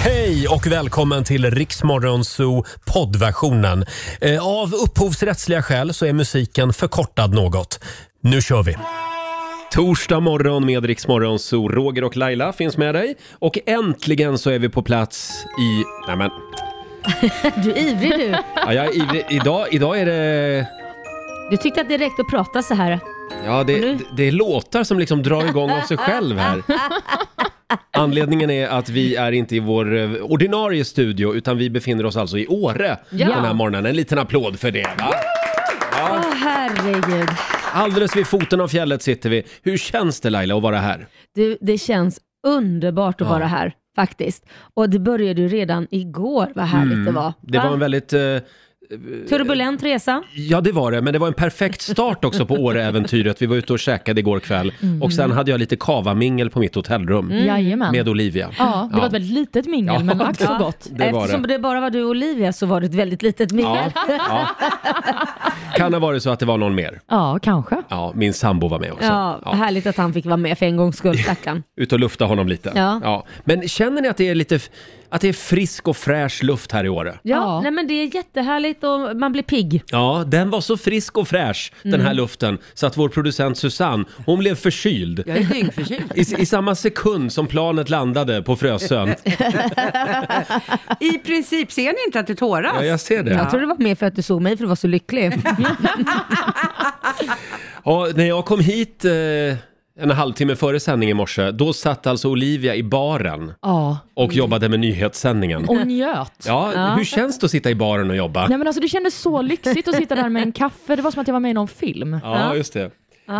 Hej och välkommen till Riksmorgonzoo poddversionen. Eh, Av upphovsrättsliga skäl så är musiken förkortad något. Nu kör vi! Torsdag morgon med Riksmorgonzoo. Roger och Laila finns med dig. Och äntligen så är vi på plats i... Nej men, Du är ivrig du. ja, jag är ivrig. Idag, idag är det... Du tyckte att det räckte att prata så här. Ja, det, nu? det, det är låtar som liksom drar igång av sig själv här. Anledningen är att vi är inte i vår eh, ordinarie studio utan vi befinner oss alltså i Åre Ja. den här morgonen. En liten applåd för det va? Åh herregud. Alldeles vid foten av fjället sitter vi. Hur känns det Laila att vara här? Du, det känns underbart att Ja. vara här faktiskt. Och det började ju redan igår, vad härligt det var. Mm. Det var en väldigt... eh, Turbulent resa. Ja, det var det, men det var en perfekt start också på Åre-äventyret. Vi var ute och käkade igår kväll Mm. och sen hade jag lite kavamingel på mitt hotellrum Mm. Jajamän. med Olivia. Mm. Ja, det Ja. var ett väldigt litet mingel, Ja. men ack så Ja. gott. Det var Eftersom det. bara var du och Olivia så var det ett väldigt litet Ja, mingel. ja. Kan ha varit så att det var någon mer. Ja, kanske. Ja, min sambo var med också. Ja. Ja. Härligt att han fick vara med för en gångs skull, stackarn. Ut och lufta honom lite. Ja. Men känner ni att det är lite, f- att det är frisk och fräsch luft här i Åre? Ja, Ja. Nej, men det är jättehärligt och man blir pigg. Ja, den var så frisk och fräsch den här luften så att vår producent Susanne, hon blev förkyld. Jag är dyngförkyld. I, I samma sekund som planet landade på Frösön. I princip, ser ni inte att det tåras? Ja, jag ser det. Jag tror det var mer för att du såg mig för du var så lycklig. Ja, när jag kom hit eh, en halvtimme före sändning i morse, då satt alltså Olivia i baren Ja, och jobbade med nyhetssändningen. och njöt. Ja, hur känns det att sitta i baren och jobba? Nej men alltså det kändes så lyxigt att sitta där med en kaffe, det var som att jag var med i någon film. Ja, just det.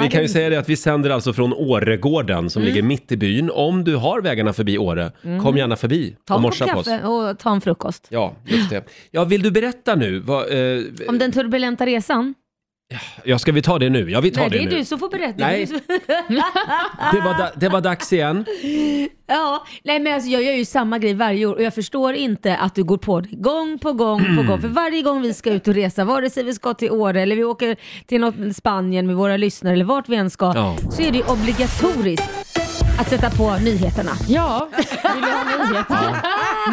Vi kan ju säga det att vi sänder alltså från Åregården Mm. som ligger mitt i byn. Om du har vägarna förbi Åre, kom gärna förbi Ta och en kopp morsa på oss. kaffe och ta en frukost. Ja, just det. Ja, vill du berätta nu? Vad, eh, Om den turbulenta resan? ja, ska vi ta det nu? Ja, vi tar Nej, det, det är nu. du som får berätta. Nej. Det, var da- det var dags igen. Ja, nej men alltså jag gör ju samma grej varje år och jag förstår inte att du går på det gång på gång på gång. För varje gång vi ska ut och resa, vare sig vi ska till Åre eller vi åker till något Spanien med våra lyssnare eller vart vi än ska, Ja. så är det ju obligatoriskt att sätta på nyheterna. Ja, vill du ha nyheter?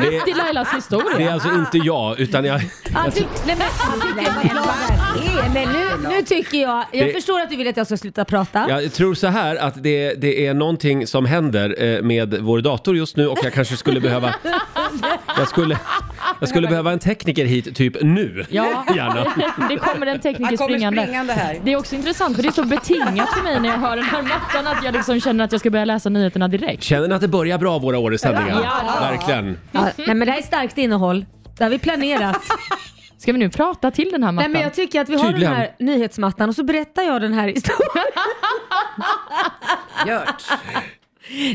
Det, Till Lailas det är historia. alltså inte jag, utan jag... Ja, ty- nej, men, nej, men, nej, men nu, nu tycker jag, jag Det- förstår att du vill att jag ska sluta prata. Jag tror så här att det, det är någonting som händer eh, med vår dator just nu och jag kanske skulle behöva... Jag skulle, jag skulle behöva en tekniker hit typ nu. Ja. Gärna. Det kommer en Han tekniker kommer springande. springande här. Det är också intressant för det är så betingat för mig när jag hör den här mattan att jag liksom känner att jag ska börja läsa nyheterna direkt. Känner ni att det börjar bra våra Åres sändningar? Ja. Verkligen. Ja, nej men det här är starkt innehåll. Det har vi planerat. Ska vi nu prata till den här Nej, mattan? men jag tycker att vi har Tydligen. den här nyhetsmattan och så berättar jag den här historien. Gjort.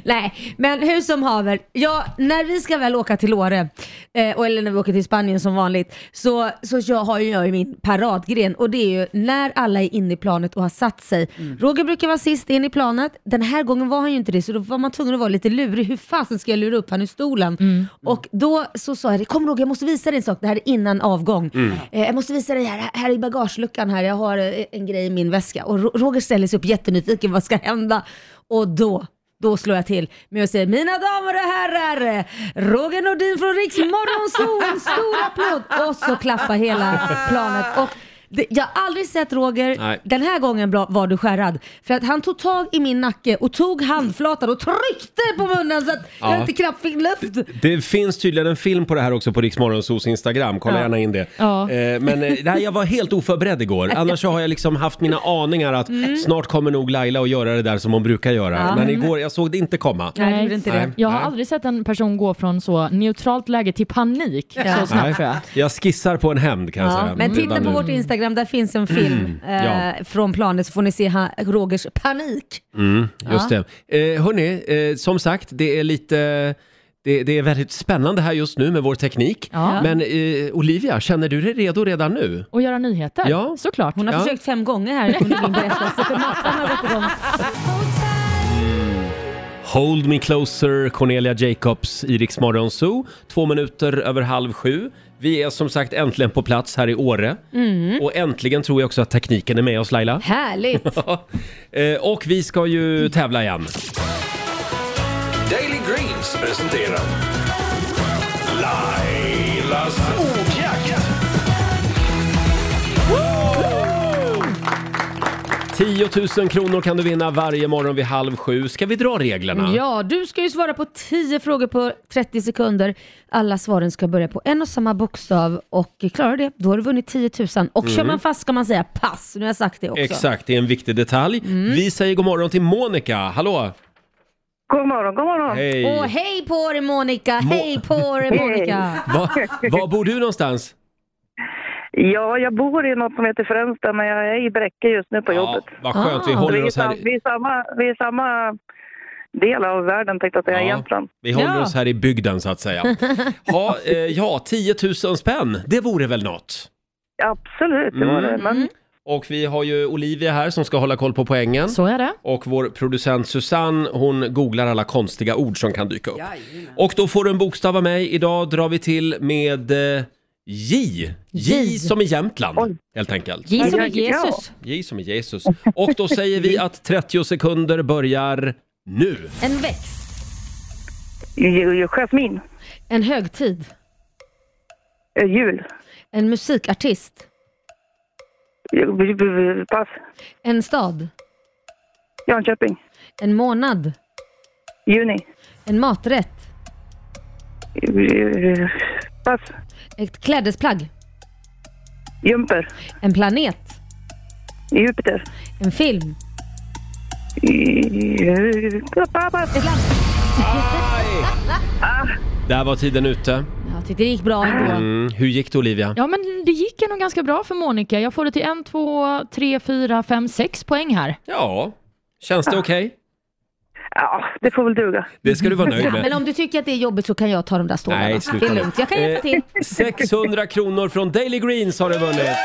Nej, men hur som haver. Ja, när vi ska väl åka till Åre, eh, och- eller när vi åker till Spanien som vanligt, så, så jag har ju jag ju min paradgren och det är ju när alla är inne i planet och har satt sig. Roger brukar vara sist in i planet. Den här gången var han ju inte det, så då var man tvungen att vara lite lurig. Hur fasen ska jag lura upp han ur stolen? Och då så sa jag det, kom Roger jag måste visa dig en sak. Det här är innan avgång. Eh, jag måste visa dig här, här i bagageluckan här. Jag har eh, en grej i min väska. Och Ro- Roger ställer sig upp jättenyfiken, vad ska hända? Och då då slår jag till med att säga mina damer och herrar, Roger Nordin från Riks Morgonzoo, en stor applåd! Och så klappar hela planet. Och det, jag har aldrig sett Roger, Nej. den här gången bra- var du skärrad. För att han tog tag i min nacke och tog handflatan och tryckte på munnen så att Ja. jag inte knappt fick luft. Det finns tydligen en film på det här också på Riksmorgonsos Instagram, kolla Ja. gärna in det. Ja. Eh, Men eh, nej, jag var helt oförberedd igår, annars så har jag liksom haft mina aningar att snart kommer nog Laila att göra det där som hon brukar göra. Mm. Ja. Men igår, jag såg det inte komma. Nej, det gjorde inte det. Nej. Jag har aldrig sett en person gå från så neutralt läge till panik så snabbt tror jag. Nej, jag skissar på en hämnd kan jag Ja, säga. men titta Redan på nu. vårt Instagram, där finns en film Mm. Ja. eh, från planet så får ni se han, Rogers panik. Just det. Eh, hörni, eh, som sagt, det är lite... Det, det är väldigt spännande här just nu med vår teknik. Ja. Men eh, Olivia, känner du dig redo redan nu? Och göra nyheter, Ja. såklart. Hon har Ja. försökt fem gånger här under min berättelse för mattan har gått igång. Hold Me Closer, Cornelia Jacobs i Rix Morgon Zoo. Två minuter över halv sju. Vi är som sagt äntligen på plats här i Åre. Mm. Och äntligen tror jag också att tekniken är med oss Laila. Härligt! Eh, och vi ska ju tävla igen. Daily Greens presenterar Lailas ordjakt. 10 000 kronor kan du vinna varje morgon vid halv sju. Ska vi dra reglerna? Ja, du ska ju svara på 10 frågor på 30 sekunder. Alla svaren ska börja på en och samma bokstav och klarar du det, då har du vunnit 10 000. Och kör man fast ska man säga pass. Nu har jag sagt det också. Mm. Mm. Exakt, det är en viktig detalj. Vi säger god morgon till Monica. Hallå! God morgon, god morgon. Hej! Och hej på dig Monica! Mo- hej på dig Monica! Va, var bor du någonstans? Ja, jag bor i något som heter Fränsta, men jag är i Bräcke just nu på jobbet. vad skönt, vi Ah. håller Vi är, oss sam, här... vi, är samma, vi är samma del av världen, tänkte jag säga, Ja. egentligen. Vi håller Ja. oss här i bygden så att säga. Ha, eh, ja, 10 000 spänn, det vore väl något? Absolut, det var Mm. det. Men Mm. Och vi har ju Olivia här som ska hålla koll på poängen. Så är det. Och vår producent Susanne, hon googlar alla konstiga ord som kan dyka upp. Och då får du en bokstav av mig. Idag drar vi till med eh, J. J J. som i Jämtland, Oj. helt enkelt. J som är Ja, ja, ja. Jesus. J som i Jesus. Och då säger vi att 30 sekunder börjar nu. En växt, ju- ju- jasmin, en högtid, eh, jul, en musikartist, ju- bu- bu- pass, en stad, Jönköping, en månad, juni, en maträtt, ju- ju- pass, ett klädesplagg, jumper, en planet, Jupiter, en film, ju- ju- pass. ett land. Där var tiden ute. Jag tyckte det gick bra ändå. Mm, hur gick det Olivia? Ja men det gick ändå ganska bra för Monica. Jag får det till en, två, tre, fyra, fem, sex poäng här. Ja, känns Ah. det okej? Ja, det får väl duga. Det ska du vara nöjd med. Men om du tycker att det är jobbigt så kan jag ta de där stålarna. Nej, det sluta är nu. lugnt, jag kan hjälpa till. Eh, 600 kronor från Daily Greens har du vunnit.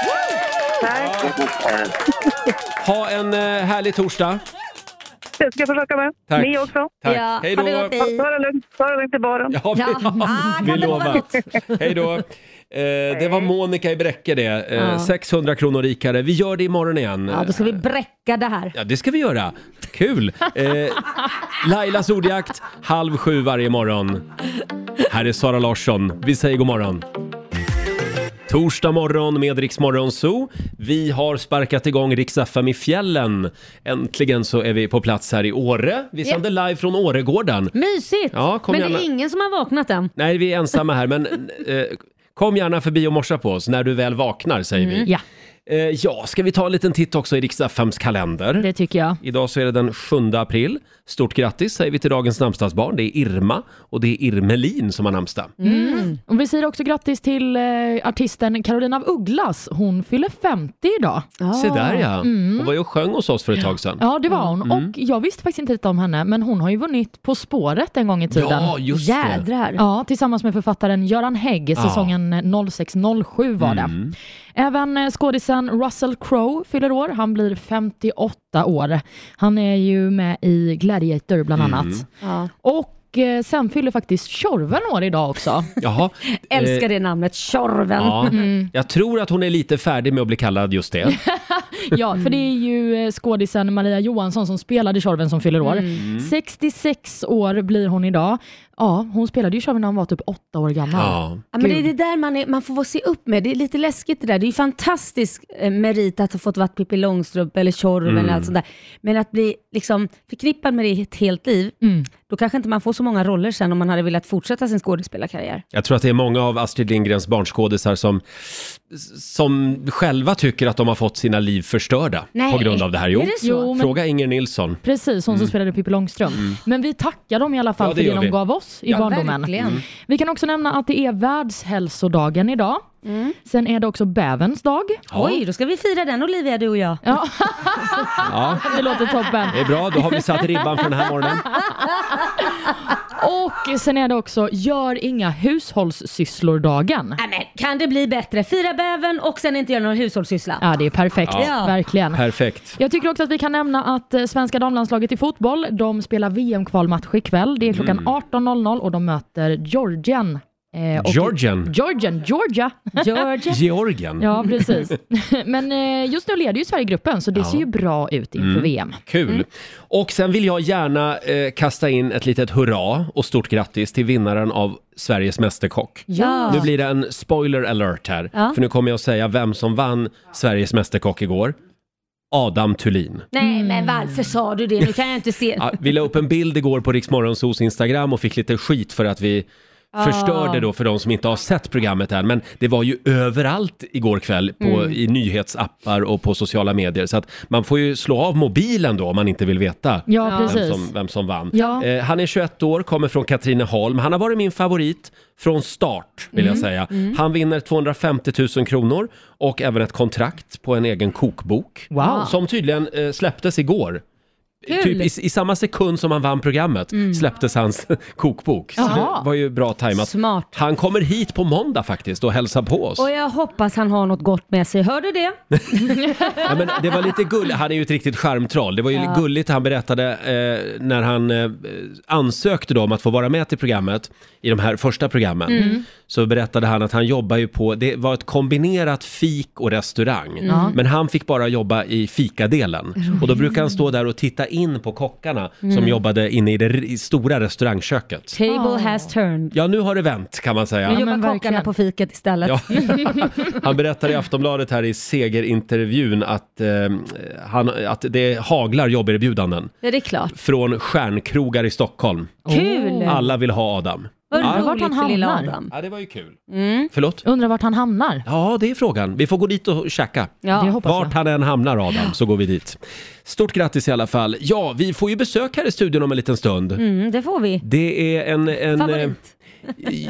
Tack. Ha en eh, härlig torsdag. Det ska jag försöka med. Tack. Ni också. Tack. Ja, Hej då. ha det gott, hej. Ta det lugnt, ta det lugnt i baren. Ja, vi, Ja, ah, kan vi det vara lovar. något? Hej då. Eh, det var Monica i Bräcke det. Eh, 600 kronor rikare. Vi gör det imorgon igen. Ja, då ska vi bräcka det här. Ja, det ska vi göra. Kul! Eh, Lailas ordjakt, halv sju varje morgon. Här är Sara Larsson. Vi säger god morgon. Torsdag morgon med Rix Morgon Zoo. Vi har sparkat igång Rix FM i fjällen. Äntligen så är vi på plats här i Åre. Vi sänder live från Åregården. Mysigt! Ja, kom men det gärna. är ingen som har vaknat än. Nej, vi är ensamma här, men eh, kom gärna förbi och morsa på oss när du väl vaknar, säger vi. Ja, Eh, ja, ska vi ta en liten titt också i Rix FMs kalender? det tycker jag. Idag så är det den 7 april. Stort grattis säger vi till dagens namnsdagsbarn. Det är Irma och det är Irmelin som har namnsdag. Mm. Och vi säger också grattis till eh, artisten Carolina af Ugglas. Hon fyller 50 idag. Mm. Se där Ah. ja. Hon var ju och sjöng hos oss för ett tag sedan. Ja, det var hon. Mm. Och jag visste faktiskt inte lite om henne, men hon har ju vunnit På spåret en gång i tiden. Ja, just det. Jädrar. Ja, tillsammans med författaren Göran Hägg, säsongen 06-07 var det. Även eh, skådisen Russell Crowe fyller år. Han blir 58 år. Han är ju med i Gladiator bland annat. Ja. Och eh, sen fyller faktiskt Tjorven år idag också. Jaha. Älskar Eh, det Mm. namnet, Tjorven. Ja. Jag tror att hon är lite färdig med att bli kallad just det. Ja, för det är ju eh, skådisen Maria Johansson som spelade Tjorven som fyller år. 66 år blir hon idag. Ja, hon spelade ju Tjorven när hon var typ åtta år gammal. Ja. Ja, men det är det där man, är, man får vara se upp med. Det är lite läskigt det där. Det är ju fantastisk eh, merit att ha fått vara Pippi Långstrump eller Tjorven Mm. eller allt sånt där. Men att bli liksom, förknippad med det i ett helt liv, då kanske inte man får så många roller sen om man hade velat fortsätta sin skådespelarkarriär. Jag tror att det är många av Astrid Lindgrens barnskådisar som, som själva tycker att de har fått sina liv förstörda Nej. på grund av det här. Jo. Är det så? Jo, men Fråga Inger Nilsson. Precis, hon som spelade Pippi Långstrump. Men vi tackar dem i alla fall Mm. Ja, det gör för det vi. Mm. de gav oss i Ja, barndomen. Verkligen. Vi kan också nämna att det är världshälsodagen idag. Sen är det också bäverns dag. Ja. Oj, då ska vi fira den Olivia, du och jag. Ja, Det låter toppen. det är bra. Då har vi satt ribban för den här morgonen. Och sen är det också gör inga hushållssysslor-dagen. Nej, men kan det bli bättre? Fira bäven och sen inte göra någon hushållssyssla. Ja, det är perfekt. Ja. Verkligen. Perfekt. Jag tycker också att vi kan nämna att eh, svenska damlandslaget i Mm. fotboll, de spelar VM-kvalmatch ikväll. Det är klockan 18.00 och de möter Georgien Eh, och- Georgian. Georgian, Georgia. Georgia. Georgien. Ja, precis. Men eh, just nu leder ju Sverigegruppen, så det ser ju bra ut inför Mm. VM. Kul! Mm. Och sen vill jag gärna eh, kasta in ett litet hurra och stort grattis till vinnaren av Sveriges Mästerkock. Ja. Nu blir det en spoiler alert här, Ja. för nu kommer jag att säga vem som vann Sveriges Mästerkock igår. Adam Thulin. Nej men varför sa du det? Nu kan jag inte se. Ja, vi la upp en bild igår på Riksmorgonsos Instagram och fick lite skit för att vi förstörde då för de som inte har sett programmet än. Men det var ju överallt igår kväll på, Mm. i nyhetsappar och på sociala medier. Så att man får ju slå av mobilen då om man inte vill veta Ja, precis. vem, som, vem som vann. Ja. Eh, han är 21 år, kommer från Katrineholm. Han har varit min favorit från start vill Mm. jag säga. Han vinner 250 000 kronor och även ett kontrakt på en egen kokbok. Wow. Som tydligen eh, släpptes igår. Typ i, i samma sekund som han vann programmet släpptes hans kokbok. Så Mm. Jaha. det var ju bra tajmat. Smart. Han kommer hit på måndag faktiskt och hälsar på oss. Och jag hoppas han har något gott med sig. Hör du det? Ja, men det var lite gulligt. Han är ju ett riktigt charmtroll. Det var ju gulligt han berättade eh, när han eh, ansökte då om att få vara med till programmet i de här första programmen. Så berättade han att han jobbar ju på, det var ett kombinerat fik och restaurang. Men han fick bara jobba i fikadelen. Och då brukade han stå där och titta in på kockarna som jobbade inne i det r- i stora restaurangköket. Table Ja. has turned. Ja, nu har det vänt kan man säga. Nu men jobbar kockarna verkligen. på fiket istället. Ja. Han berättar i Aftonbladet här i segerintervjun att, eh, han, att det haglar jobberbjudanden Ja, det är klart. från stjärnkrogar i Stockholm. Kul! Oh. Alla vill ha Adam. Vad Undrar vart roligt han för lilla hamnar. Adam. Ja, det var ju kul. Mm. Förlåt? Undrar vart han hamnar. Ja, det är frågan. Vi får gå dit och käka. Det Ja. hoppas jag. Vart han än hamnar Adam så går vi dit. Stort grattis i alla fall. Ja, vi får ju besök här i studion om en liten stund. Mm, det får vi. Det är en... en eh, Favorit.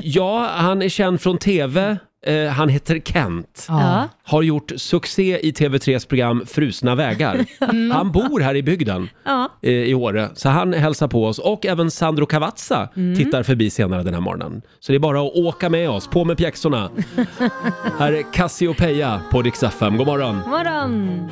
ja, han är känd från TV. Eh, han heter Kent. Ja. har gjort succé i TV3s program Frusna vägar. Han bor här i bygden Mm. Ja. eh, i Åre, så han hälsar på oss och även Sandro Cavazza Mm. tittar förbi senare den här morgonen. Så det är bara att åka med oss, på med pjäxorna. här är Cassiopeia på Rix FM. God morgon! God morgon!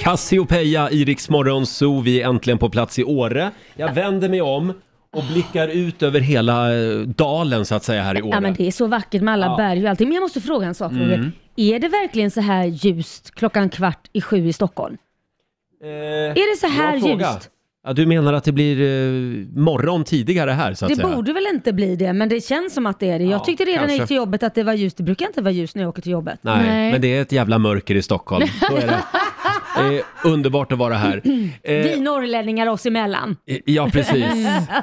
Cassiopeia i Rix Morgon Zoo. Vi är äntligen på plats i Åre. Jag vänder mig om och blickar ut över hela eh, dalen så att säga här i Åre. Ja, men det är så vackert med alla berg och allting. Men jag måste fråga en sak Roger. Är det verkligen så här ljust klockan kvart i sju i Stockholm? Eh, Är det så här bra fråga. ljust? Ja, du menar att det blir eh, morgon tidigare här så att Det säga? borde väl inte bli det, men det känns som att det är det. Jag Ja, tyckte redan när jag kanske. gick till jobbet att det var ljust. Det brukar inte vara ljust när jag åker till jobbet. Nej, Nej. men det är ett jävla mörker i Stockholm. Så är det. det är underbart att vara här. Eh, Vi norrlänningar oss emellan. ja, precis.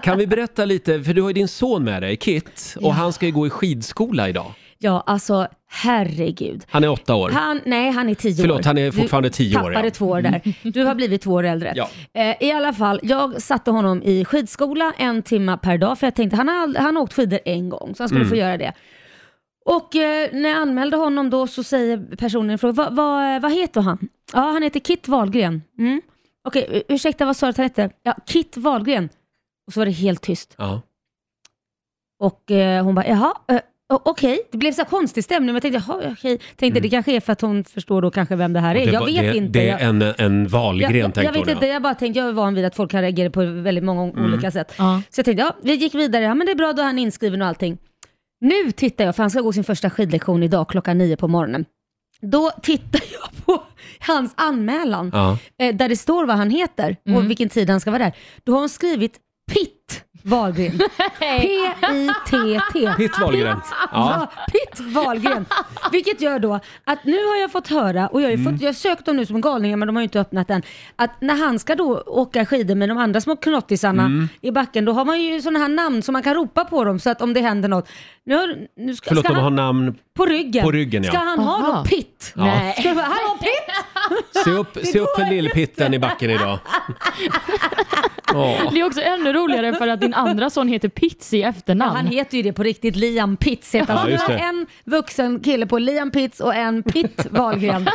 Kan vi berätta lite, för du har ju din son med dig, Kit, och han ska ju gå i skidskola idag. Ja, alltså herregud. Han är åtta år. Han, nej, han är tio år. Förlåt, han är fortfarande du tio år, tappade ja. Mm. två år där. Du har blivit två år äldre. Ja. Eh, I alla fall, jag satte honom i skidskola en timme per dag för jag tänkte han har, ald- han har åkt skidor en gång så han Mm. skulle få göra det. Och eh, när jag anmälde honom då så säger personen ifrån, vad vad- vad heter han? Ja, han heter Kit Wahlgren. Mm. Okej, u- ursäkta vad sa du att han hette? Ja, Kit Wahlgren. Och så var det helt tyst. Ja. Och eh, hon bara, jaha, eh, o- okej. Det blev så här konstig stämning. Men jag tänkte, jaha, okej. Tänkte det kanske är för att hon förstår då kanske vem det här är. Mm. Det jag var- vet det, inte. Det Jag- är en, en valgren, jag, jag, jag tänkte vet hon. Mm. inte, jag bara tänkte, jag är van vid att folk kan reagera på väldigt många olika sätt. Ja. Så jag tänkte, ja, vi gick vidare, ja men det är bra, då är han inskriven och allting. Nu tittar jag, för han ska gå sin första skidlektion idag klockan nio på morgonen. Då tittar jag på hans anmälan, Ja. eh, där det står vad han heter och vilken tid han ska vara där. Då har hon skrivit Pitt Wahlgren. P-I-T-T. Pitt Wahlgren. Ja. Ja. Pitt Wahlgren. Vilket gör då att nu har jag fått höra, och jag har ju Mm. fått, jag har sökt dem nu som galningar men de har ju inte öppnat än, att när han ska då åka skidor med de andra små knottisarna Mm. i backen, då har man ju sådana här namn som man kan ropa på dem så att om det händer något. Nu, har- nu ska, Förlåt, ska de har han, namn. på ryggen. på ryggen, ja. Ska han ha Aha. då Pitt? Ja. Nej. Ska han ha Pitt? Se upp, se upp för lillpitten i backen idag. Ja. Det är också ännu roligare för att din andra son heter Pitts i efternamn. Han heter ju det på riktigt, Liam Pitts heter han. Ja, just Så nu det. har en vuxen kille på Liam Pitts och en Pitt Wahlgren.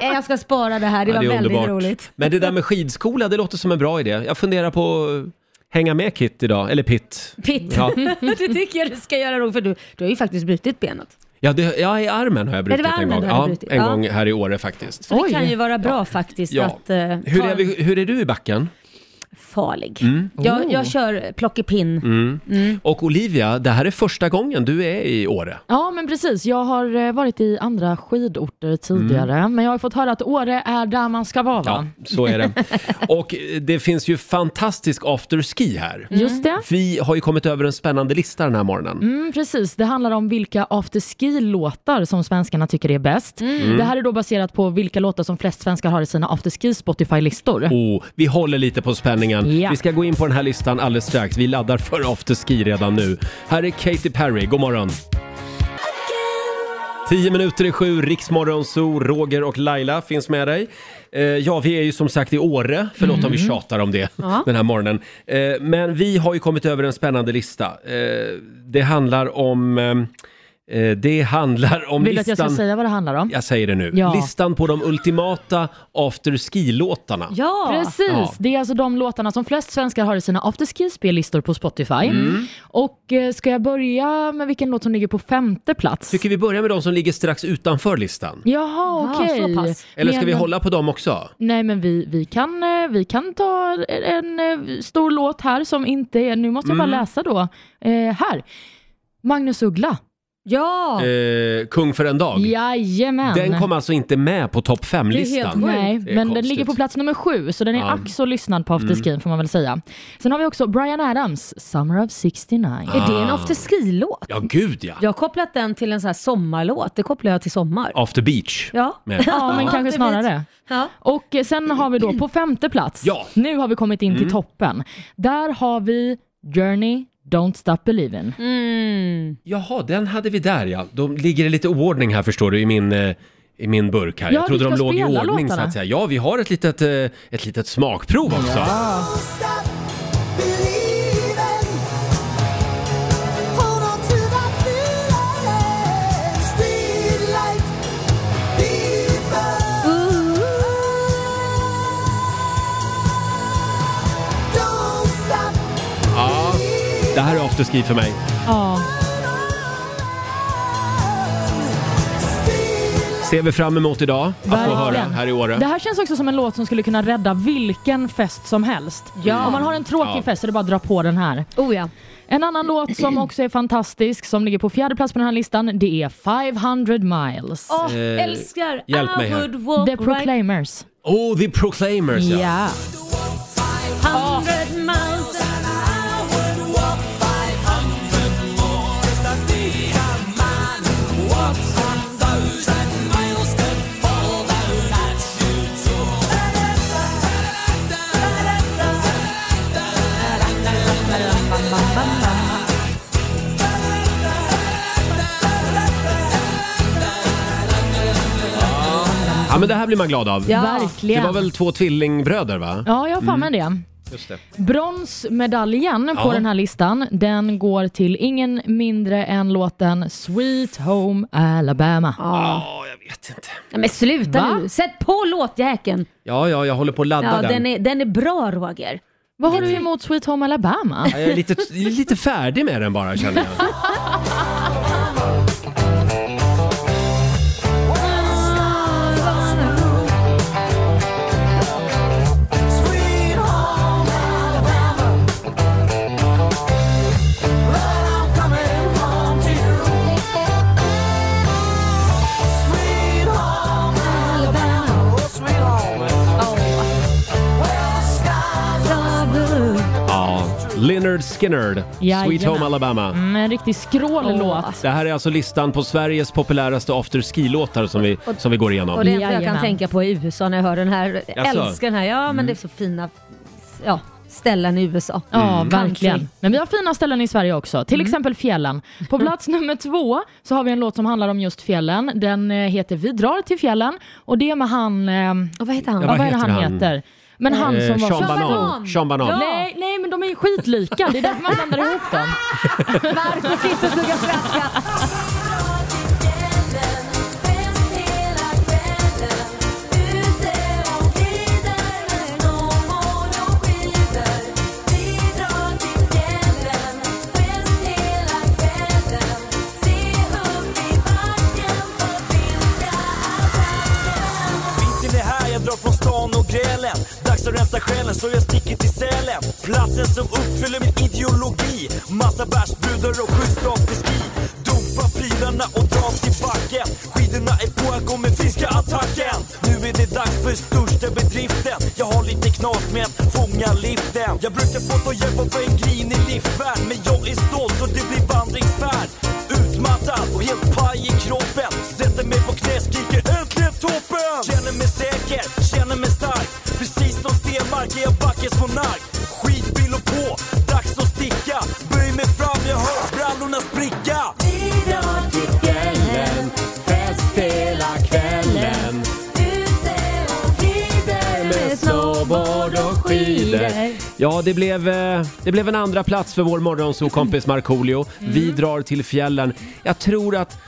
Äh, Jag ska spara det här, det Ja, var det är väldigt underbart. roligt. Men det där med skidskola, det låter som en bra idé. Jag funderar på att hänga med Kit idag, eller Pitt. Pitt. Ja. det tycker jag du ska göra då, för du, du har ju faktiskt brutit benet. Ja, det, ja, i armen har jag Ja, det brutit var en armen gång. du hade Ja, brutit. en Ja. gång här i Åre faktiskt. Så Oj. det kan ju vara bra faktiskt Ja. att eh, Hur Mm. ta är, vi, hur är du i backen? farlig. Jag, jag kör plockepinn. Mm. Mm. Och Olivia, det här är första gången du är i Åre. Ja, men precis. Jag har eh, varit i andra skidorter tidigare, men jag har fått höra att Åre är där man ska vara. Mm. Ja, va? så är det. Och eh, det finns ju fantastisk afterski här. Mm. Just det. Vi har ju kommit över en spännande lista den här morgonen. Mm, precis, det handlar om vilka afterski-låtar som svenskarna tycker är bäst. Mm. Det här är då baserat på vilka låtar som flest svenskar har i sina afterski-Spotify-listor. Oh, vi håller lite på spänningen. Ja. Vi ska gå in på den här listan alldeles strax. Vi laddar för afterski redan nu. Här är Katy Perry, god morgon. 10 minuter i sju, Riksmorgon Zoo, Roger och Laila finns med dig. Eh, ja, vi är ju som sagt i Åre. Förlåt om Mm. vi tjatar om det den här morgonen. Eh, men vi har ju kommit över en spännande lista. Eh, det handlar om... Eh, eh, det handlar om Vill du att listan... jag ska säga vad det handlar om? Jag säger det nu. Ja. Listan på de ultimata afterski-låtarna. Ja! Precis, Ja. det är alltså de låtarna som flest svenskar har i sina afterski-spellistor på Spotify. Mm. Och eh, ska jag börja med vilken låt som ligger på femte plats? Tycker vi börjar med de som ligger strax utanför listan? Jaha, Ja, okej. Ah, så pass. Eller ska vi Men- hålla på dem också? Nej men vi, vi, kan, eh, vi kan ta en eh, stor låt här som inte är, nu måste jag Mm. bara läsa då. Eh, här, Magnus Uggla. Ja! Eh, Kung för en dag. Jajamän. Den kom alltså inte med på topp Det är helt fem-listan. sjukt. Nej, Det är men den konstigt. ligger på plats nummer sju, så den är Ja. Mm. ack så lyssnad på afterskin får man väl säga. Sen har vi också Brian Adams, Summer of 69. Ah. Är det en afterski-låt? Ja, gud ja. Jag har kopplat den till en sån här sommarlåt. Det kopplar jag till sommar. After Beach. Ja. Med. Ja, men kanske det snarare. Ja. Och eh, sen har vi då på femte plats, Ja. Mm. nu har vi kommit in till toppen. Där har vi Journey, Don't Stop Believin'. Mm. Jaha, den hade vi där ja. De ligger i lite oordning här förstår du i min, eh, i min burk här. Ja, Jag trodde vi de ska låg i spela ordning så låtarna. att säga. Ja, vi har ett litet, eh, ett litet smakprov också. Ja, det här är afterski för mig. Ja. Ser vi fram emot idag att få Verkligen. höra här i Åre. Det här känns också som en låt som skulle kunna rädda vilken fest som helst. Ja. Om man har en tråkig Ja. fest så är det bara att dra på den här. Oh ja. En annan låt som också är fantastisk, som ligger på fjärde plats på den här listan, det är 500 miles. Åh, Eh, älskar! hjälp mig I här. would walk The right Proclaimers. Oh, The Proclaimers ja. Ja. Ah. hundred miles. Ja, men det här blir man glad av. Ja. Det Verkligen. var väl två tvillingbröder va? Ja, jag har fan med det. Just det. Bronsmedaljen Mm. Ja. på den här listan, den går till ingen mindre än låten Sweet Home Alabama. Ja, jag vet inte. Nej, men sluta Va? nu! Sätt på låtjäkeln! Ja, ja, jag håller på att ladda Ja, den. den är, den är bra Roger. Vad har du emot Sweet Home Alabama? Ja, Jag är lite, lite färdig med den bara känner jag. Ja, Lynyrd Skynyrd, Sweet Jajamän. Home Alabama. Mm, en riktig skrållåt. Det här är alltså listan på Sveriges populäraste afterski-låtar som vi, som vi går Och igenom. det enda jag kan Jajamän. tänka på är USA när jag hör den här. Jag Jaså? Mm. älskar den här. Ja, men det är så fina ja, ställen i USA. Ja, Mm, verkligen. Country. Men vi har fina ställen i Sverige också, till exempel fjällen. På plats nummer två så har vi en låt som handlar om just fjällen. Den eh, heter Vi drar till fjällen och det är med han, eh, Och vad heter han? Ja, ja, vad är det heter han, han? Eh, heter? Men han som var... Sean Sean Banan. Banan. Sean Banan. Ja. Nej, nej, men de är ju skitlika. Det är därför man blandar ihop dem. Varför sitter och tuggar svenska? Vintern är här, jag drar från stan och grälen Dags att rensa själen så jag sticker till Sälen lätt Platsen som uppfyller min ideologi Massa bärsbrudar och schysst afterski Dumpa pilarna och dra till backen Skidorna är på, jag går med finska attacken Nu är det dags för största bedriften Jag har lite knas med att fånga liften Jag brukar få ta hjälp av en grinig liftvärd Men jag är stolt så det blir vandringsfärd Utmattad och helt paj i kroppen Sätter mig på knä, skriker äntligen toppen! Känner mig säker, känner mig stark Precis som Stenmark är jag backens monark Skidbillo på, dags att sticka Böj mig fram, jag hör brallorna spricka Idag till fjällen, fest hela kvällen med snowboard och skidor. Ja, det blev, eh, det blev en andra plats för vår morgonsokompis Markoolio. Vi drar till fjällen. Jag tror att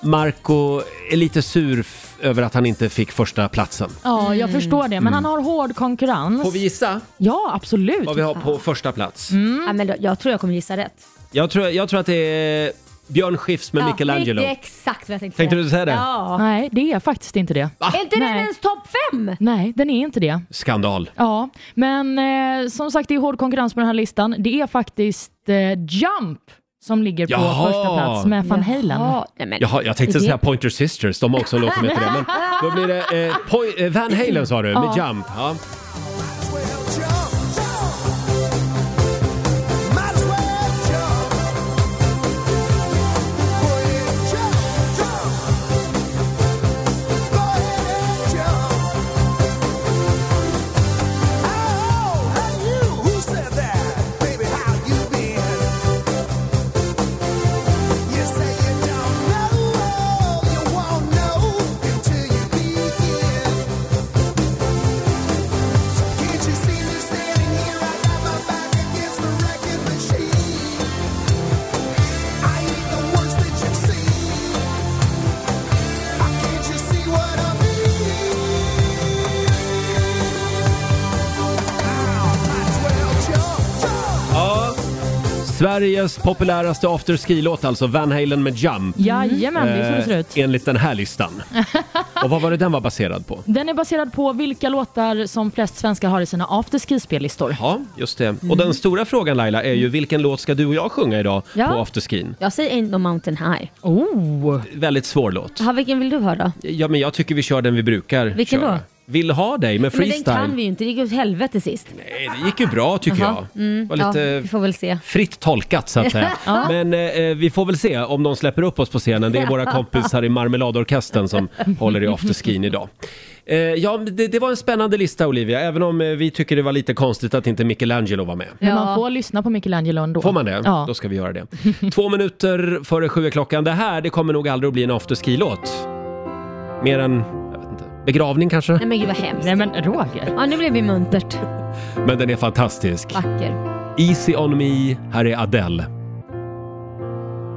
Marco är lite sur f- över att han inte fick första platsen. Ja, jag förstår det. Men han har hård konkurrens. Mm. Får vi gissa Ja, absolut. vad vi har på första plats? Ja, men då, jag tror jag kommer gissa rätt. Mm. Jag, tror, jag tror att det är Björn Skifs med Ja, Michelangelo. Det är exakt vad jag tänkte Tänkte du säga det? Ja. Nej, det är faktiskt inte det. Är inte den Nej. ens topp fem? Nej, den är inte det. Skandal. Ja, men eh, som sagt det är hård konkurrens på den här listan. Det är faktiskt eh, Jump som ligger på Jaha. första plats med Van Halen. Ja, nej men. Jaha, jag tänkte Det- säga Pointer Sisters, de har också en låt som heter det. Men då blir det eh, Poi- eh, Van Halen sa du, med Ja. Jump. Ja. Sveriges populäraste afterski-låt alltså, Van Halen med Jump. Jajamän, det är så det ser ut. Eh, enligt den här listan. Och vad var det den var baserad på? Den är baserad på vilka låtar som flest svenskar har i sina afterski-spellistor. Ja, just det. Och Mm. den stora frågan Laila är ju vilken låt ska du och jag sjunga idag Ja. på afterskin? Jag säger Ain't No Mountain High. Oh. Väldigt svår låt. Aha, vilken vill du höra? Ja, men jag tycker vi kör den vi brukar Vilken köra. då? Vill ha dig med Men den freestyle. kan vi ju inte, det gick åt helvete sist. Nej, det gick ju bra tycker Jaha, jag. mm, var lite ja, vi får väl se. fritt tolkat så att säga. Men eh, vi får väl se om de släpper upp oss på scenen. Det är våra kompisar i Marmeladorkestern som håller i afterskin idag. Eh, ja, men det, det var en spännande lista Olivia, även om eh, vi tycker det var lite konstigt att inte Michelangelo var med. Men Ja. man får lyssna på Michelangelo ändå. Får man det? Ja. Då ska vi göra det. Två minuter före sju är klockan. Det här, det kommer nog aldrig att bli en afterski-låt. Mer än, jag vet inte, begravning kanske? Nej men gud vad hemskt. Nej men Roger. Ja nu blev vi muntert. Men den är fantastisk. Vacker. Easy on me, här är Adele.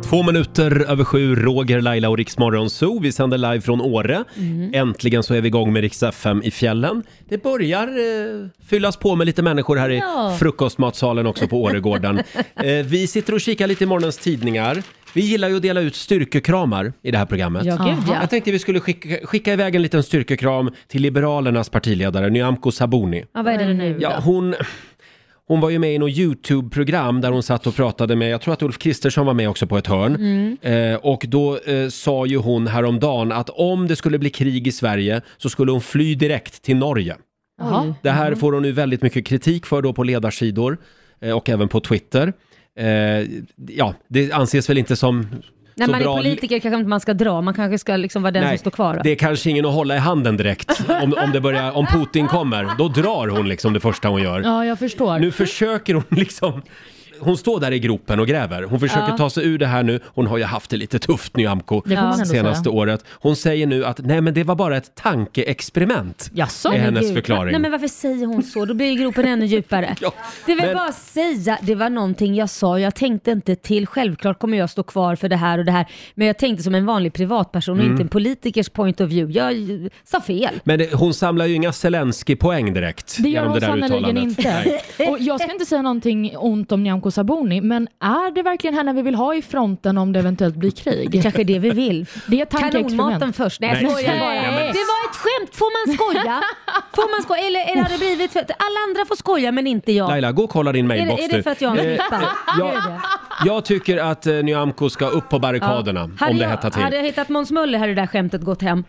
Två minuter över sju, Roger, Laila och Riksmorgon Zoo. Vi sänder live från Åre. Mhm. Äntligen så är vi igång med Rix FM i fjällen. Det börjar eh, fyllas på med lite människor här Ja. i frukostmatsalen också på Åregården. eh, vi sitter och kikar lite i morgonens tidningar. Vi gillar ju att dela ut styrkekramar i det här programmet. Ja gud ja. Jag tänkte vi skulle skicka, skicka iväg en liten styrkekram till Liberalernas partiledare Nyamko Sabuni. ja vad är det nu Ja, då? hon, hon var ju med i något YouTube-program där hon satt och pratade med, jag tror att Ulf Kristersson var med också på ett hörn. Mm. Eh, och då eh, sa ju hon häromdagen att om det skulle bli krig i Sverige så skulle hon fly direkt till Norge. Jaha. Det här Mm. får hon nu väldigt mycket kritik för då på ledarsidor eh, och även på Twitter. Eh, ja, det anses väl inte som När så man är bra... politiker kanske inte man ska dra, man kanske ska liksom vara den som står kvar. Då. det är kanske ingen att hålla i handen direkt om, om, det börjar, om Putin kommer. Då drar hon liksom det första hon gör. Ja, jag förstår. Nu försöker hon liksom... Hon står där i gropen och gräver. Hon försöker ta sig ur det här nu. Hon har ju haft det lite tufft, Nyamko, Det får man ändå senaste säga. året. Hon säger nu att nej men det var bara ett tankeexperiment. Jaså? är hennes Gud. förklaring. Nej men varför säger hon så? Då blir ju gropen ännu djupare. Ja, Det är väl men- bara att säga, det var någonting jag sa, jag tänkte inte till. Självklart kommer jag stå kvar för det här och det här. Men jag tänkte som en vanlig privatperson Mm. och inte en politikers point of view. Jag eh, sa fel. Men det, hon samlar ju inga Zelensky-poäng direkt Det gör genom hon det där sannerligen uttalandet. Nej. inte. Och jag ska inte säga någonting ont om Nyamko Sabuni, men är det verkligen henne vi vill ha i fronten om det eventuellt blir krig? Kanske det vi vill. Det är ett tankeexperiment. Kanonmaten först. Nej, jag Nej, skojar nej, bara. men- Det var ett ett skämt, får man skoja? Får man skoja? Eller, eller har det blivit för att alla andra får skoja men inte jag? Laila, gå och kolla din är, mailbox det, är det du. för att jag är en Eh, flippa? ja. Är det? Jag tycker att eh, Nyamko ska upp på barrikaderna Hade om det jag- hettar till. Hade jag hittat Måns Möller hade det där skämtet gått hem.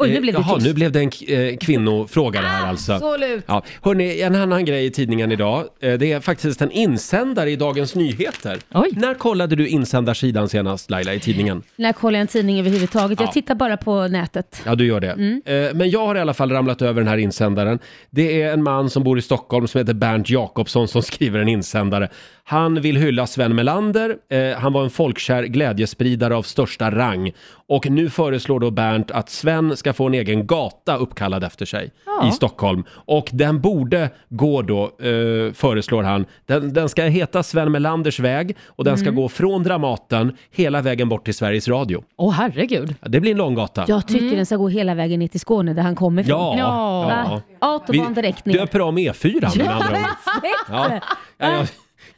Oj, nu Eh, blev det Jaha, tyst. nu blev det en k- eh, kvinnofråga det här alltså. Absolut. Ja. Hörrni, en annan grej i tidningen idag. Eh, Det är faktiskt en insändare i Dagens Nyheter. Oj. När kollade du insändarsidan senast Laila i tidningen? När kollar jag en tidning överhuvudtaget? Ja. Jag tittar bara på nätet. Ja, du gör det. Mm. Eh, Men jag har i alla fall ramlat över den här insändaren. Det är en man som bor i Stockholm som heter Bernt Jakobsson som skriver en insändare. Han vill hylla Sven Melander. Eh, Han var en folkkär glädjespridare av största rang. Och nu föreslår då Bernt att Sven ska få en egen gata uppkallad efter sig Ja. i Stockholm. Och den borde gå då, eh, föreslår han. Den, den ska heta Sven Melanders väg och den ska Mm. gå från Dramaten hela vägen bort till Sveriges Radio. Åh herregud. Ja, Det blir en lång gata. Jag tycker den ska gå hela vägen ner till Skåne där han kommer ifrån. Ja, Ja. ja. Autobahn direkt ner. döper om E4 med andra ord. Perfekt! Ja. Ja, jag,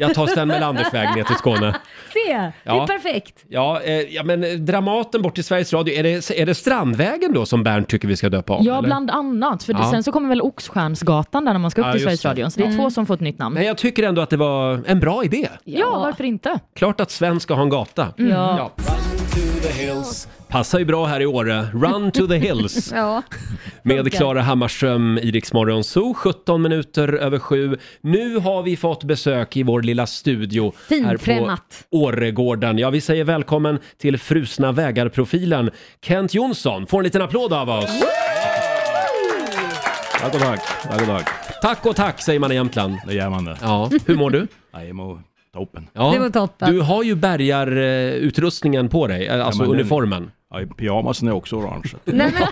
jag tar Sven Melanders väg ner till Skåne. Se, det Ja. är perfekt. Ja, eh, ja, men eh, Dramaten bort till Sveriges Radio, är det, är det Strandvägen då som Bernt tycker vi ska döpa om? Ja, eller? bland annat. För Ja. sen så kommer väl Oxstjärnsgatan där när man ska upp Ja, till just Sveriges det. Radio. Så det är två som får ett nytt namn. Men jag tycker ändå att det var en bra idé. Ja, varför inte? Klart att Sven ska ha en gata. Mm. Ja. Passar ju bra här i Åre. Run to the hills Ja. med Klara Hammarström i Rix Morgon Zoo. 17 minuter över sju. Nu har vi fått besök i vår lilla studio Finkrämat. här på Åregården. Ja, vi säger välkommen till Frusna vägar-profilen Kent Jonsson. Får en liten applåd av oss. Ja, god dag. Ja, god dag. Tack och tack säger man i Jämtland. Det gör man det. Ja, hur mår du? Jag mår toppen. Ja. Det var toppen. Du har ju bärgarutrustningen på dig, eh, alltså men den- uniformen. Ja, i pyjamasen är också orange. Nej, men,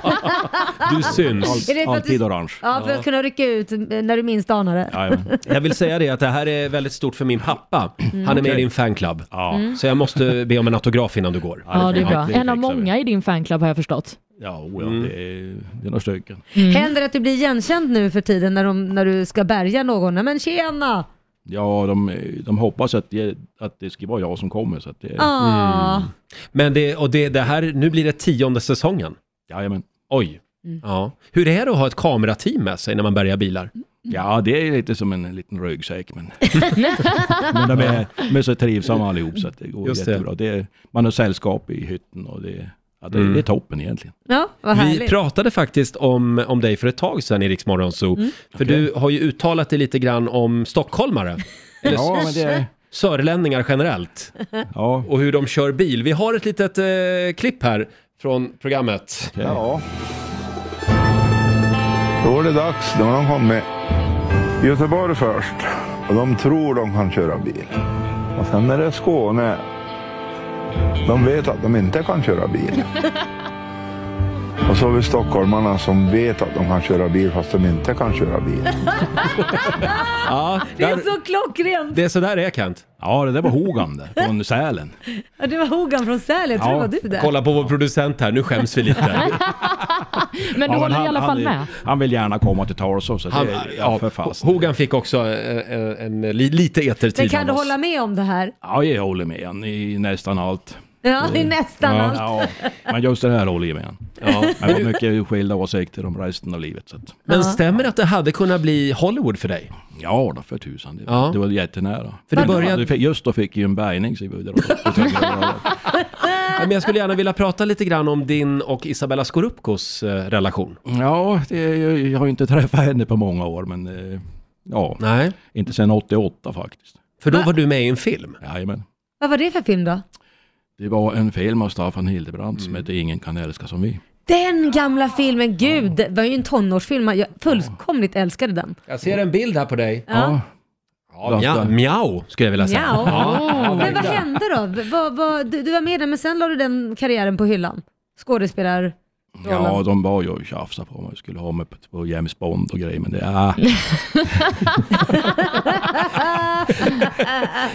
Ah. Du syns. är det för att Alltid du, orange. ja, för att kunna rycka ut eh, när du minst anar det. Jajamän. Jag vill säga det att det här är väldigt stort för min pappa. Han är med i din fanclub. Ja. Så jag måste be om en autograf innan du går. det Ja, det är fixar bra. vi. En av Det fixar vi. många i din fanclub har jag förstått. Ja, oh, ja det, är, det är några stycken. Mm. Händer det att du blir igenkänd nu för tiden när, de, när du ska bärga någon? Nej, Men tjena! Ja, de, de hoppas att det, att det ska vara jag som kommer. Så att det, Ah. Mm. Men det, och det, det här, nu blir det tionde säsongen. Jajamän. Oj. Ja. Hur är det att ha ett kamerateam med sig när man bärgar bilar? Ja, det är lite som en liten ryggsäck. Men, men de, är, de är så trivsamma allihop så att det går Just det. jättebra. Det. är, man har sällskap i hytten och det, ja, det, Mm. det är toppen egentligen. Ja, vad Vi härligt. pratade faktiskt om, om dig för ett tag sedan i Rix Morgon Zoo. För du har ju uttalat dig lite grann om stockholmare. Eller Ja, men det, sörlänningar generellt. ja, Och hur de kör bil. Vi har ett litet eh, klipp här från programmet. Ja. Då är det dags. Nu har de kommit. Göteborg först. Och de tror de kan köra bil. Och sen är det Skåne. De vet att de inte kan köra bil. Och så har vi stockholmarna som vet att de kan köra bil fast de inte kan köra bil. Ja, Det där- är så klockrent! det är så där det är Kent. ja, det där var Hogan där, från Sälen. Ja, Det var Hogan från Sälen, jag tror Ja, det var du där. Kolla på vår producent här, nu skäms vi lite. Men du Ja, håller i alla fall är- med. Han vill gärna komma till tals också. Han, Han, det, ja, ja, för fast. Hogan fick också eh, eh, en, li- lite etertid Men kan av du oss. hålla med om det här? Ja, jag håller med han i nästan allt. Ja, det är nästan allt. Ja, men just det här håller jag med han. Ja. Men vi har mycket skilda åsikter om resten av livet. Så att, Men stämmer det att det hade kunnat bli Hollywood för dig? ja, då för tusan. Det, Ja. det var jättenära. För det började- Du fick, just då fick jag ju en bärgning. Så vi var där. Ja, men jag skulle gärna vilja prata lite grann om din och Isabella Scorupcos eh, relation. ja, det, är ju- jag har ju inte träffat henne på många år, men eh, ja, Nej. inte sedan 88 faktiskt. För då var du med i en film. Jajamän. Vad var det för film då? Det var en film av Staffan Hildebrandt som hette Ingen kan älska som vi. Den gamla filmen, gud, det var ju en tonårsfilm. Jag fullkomligt älskade den. Jag ser en bild här på dig. Ja. Ja, mja, mjau skulle jag vilja säga. Mjau. Ja. Men vad hände då? V- vad- vad- du, du var med i den, men sen la du den karriären på hyllan? Skådespelar... Ja, de var ju och tjafsade på om jag skulle ha mig på, på James Bond och grejer, men det, ah,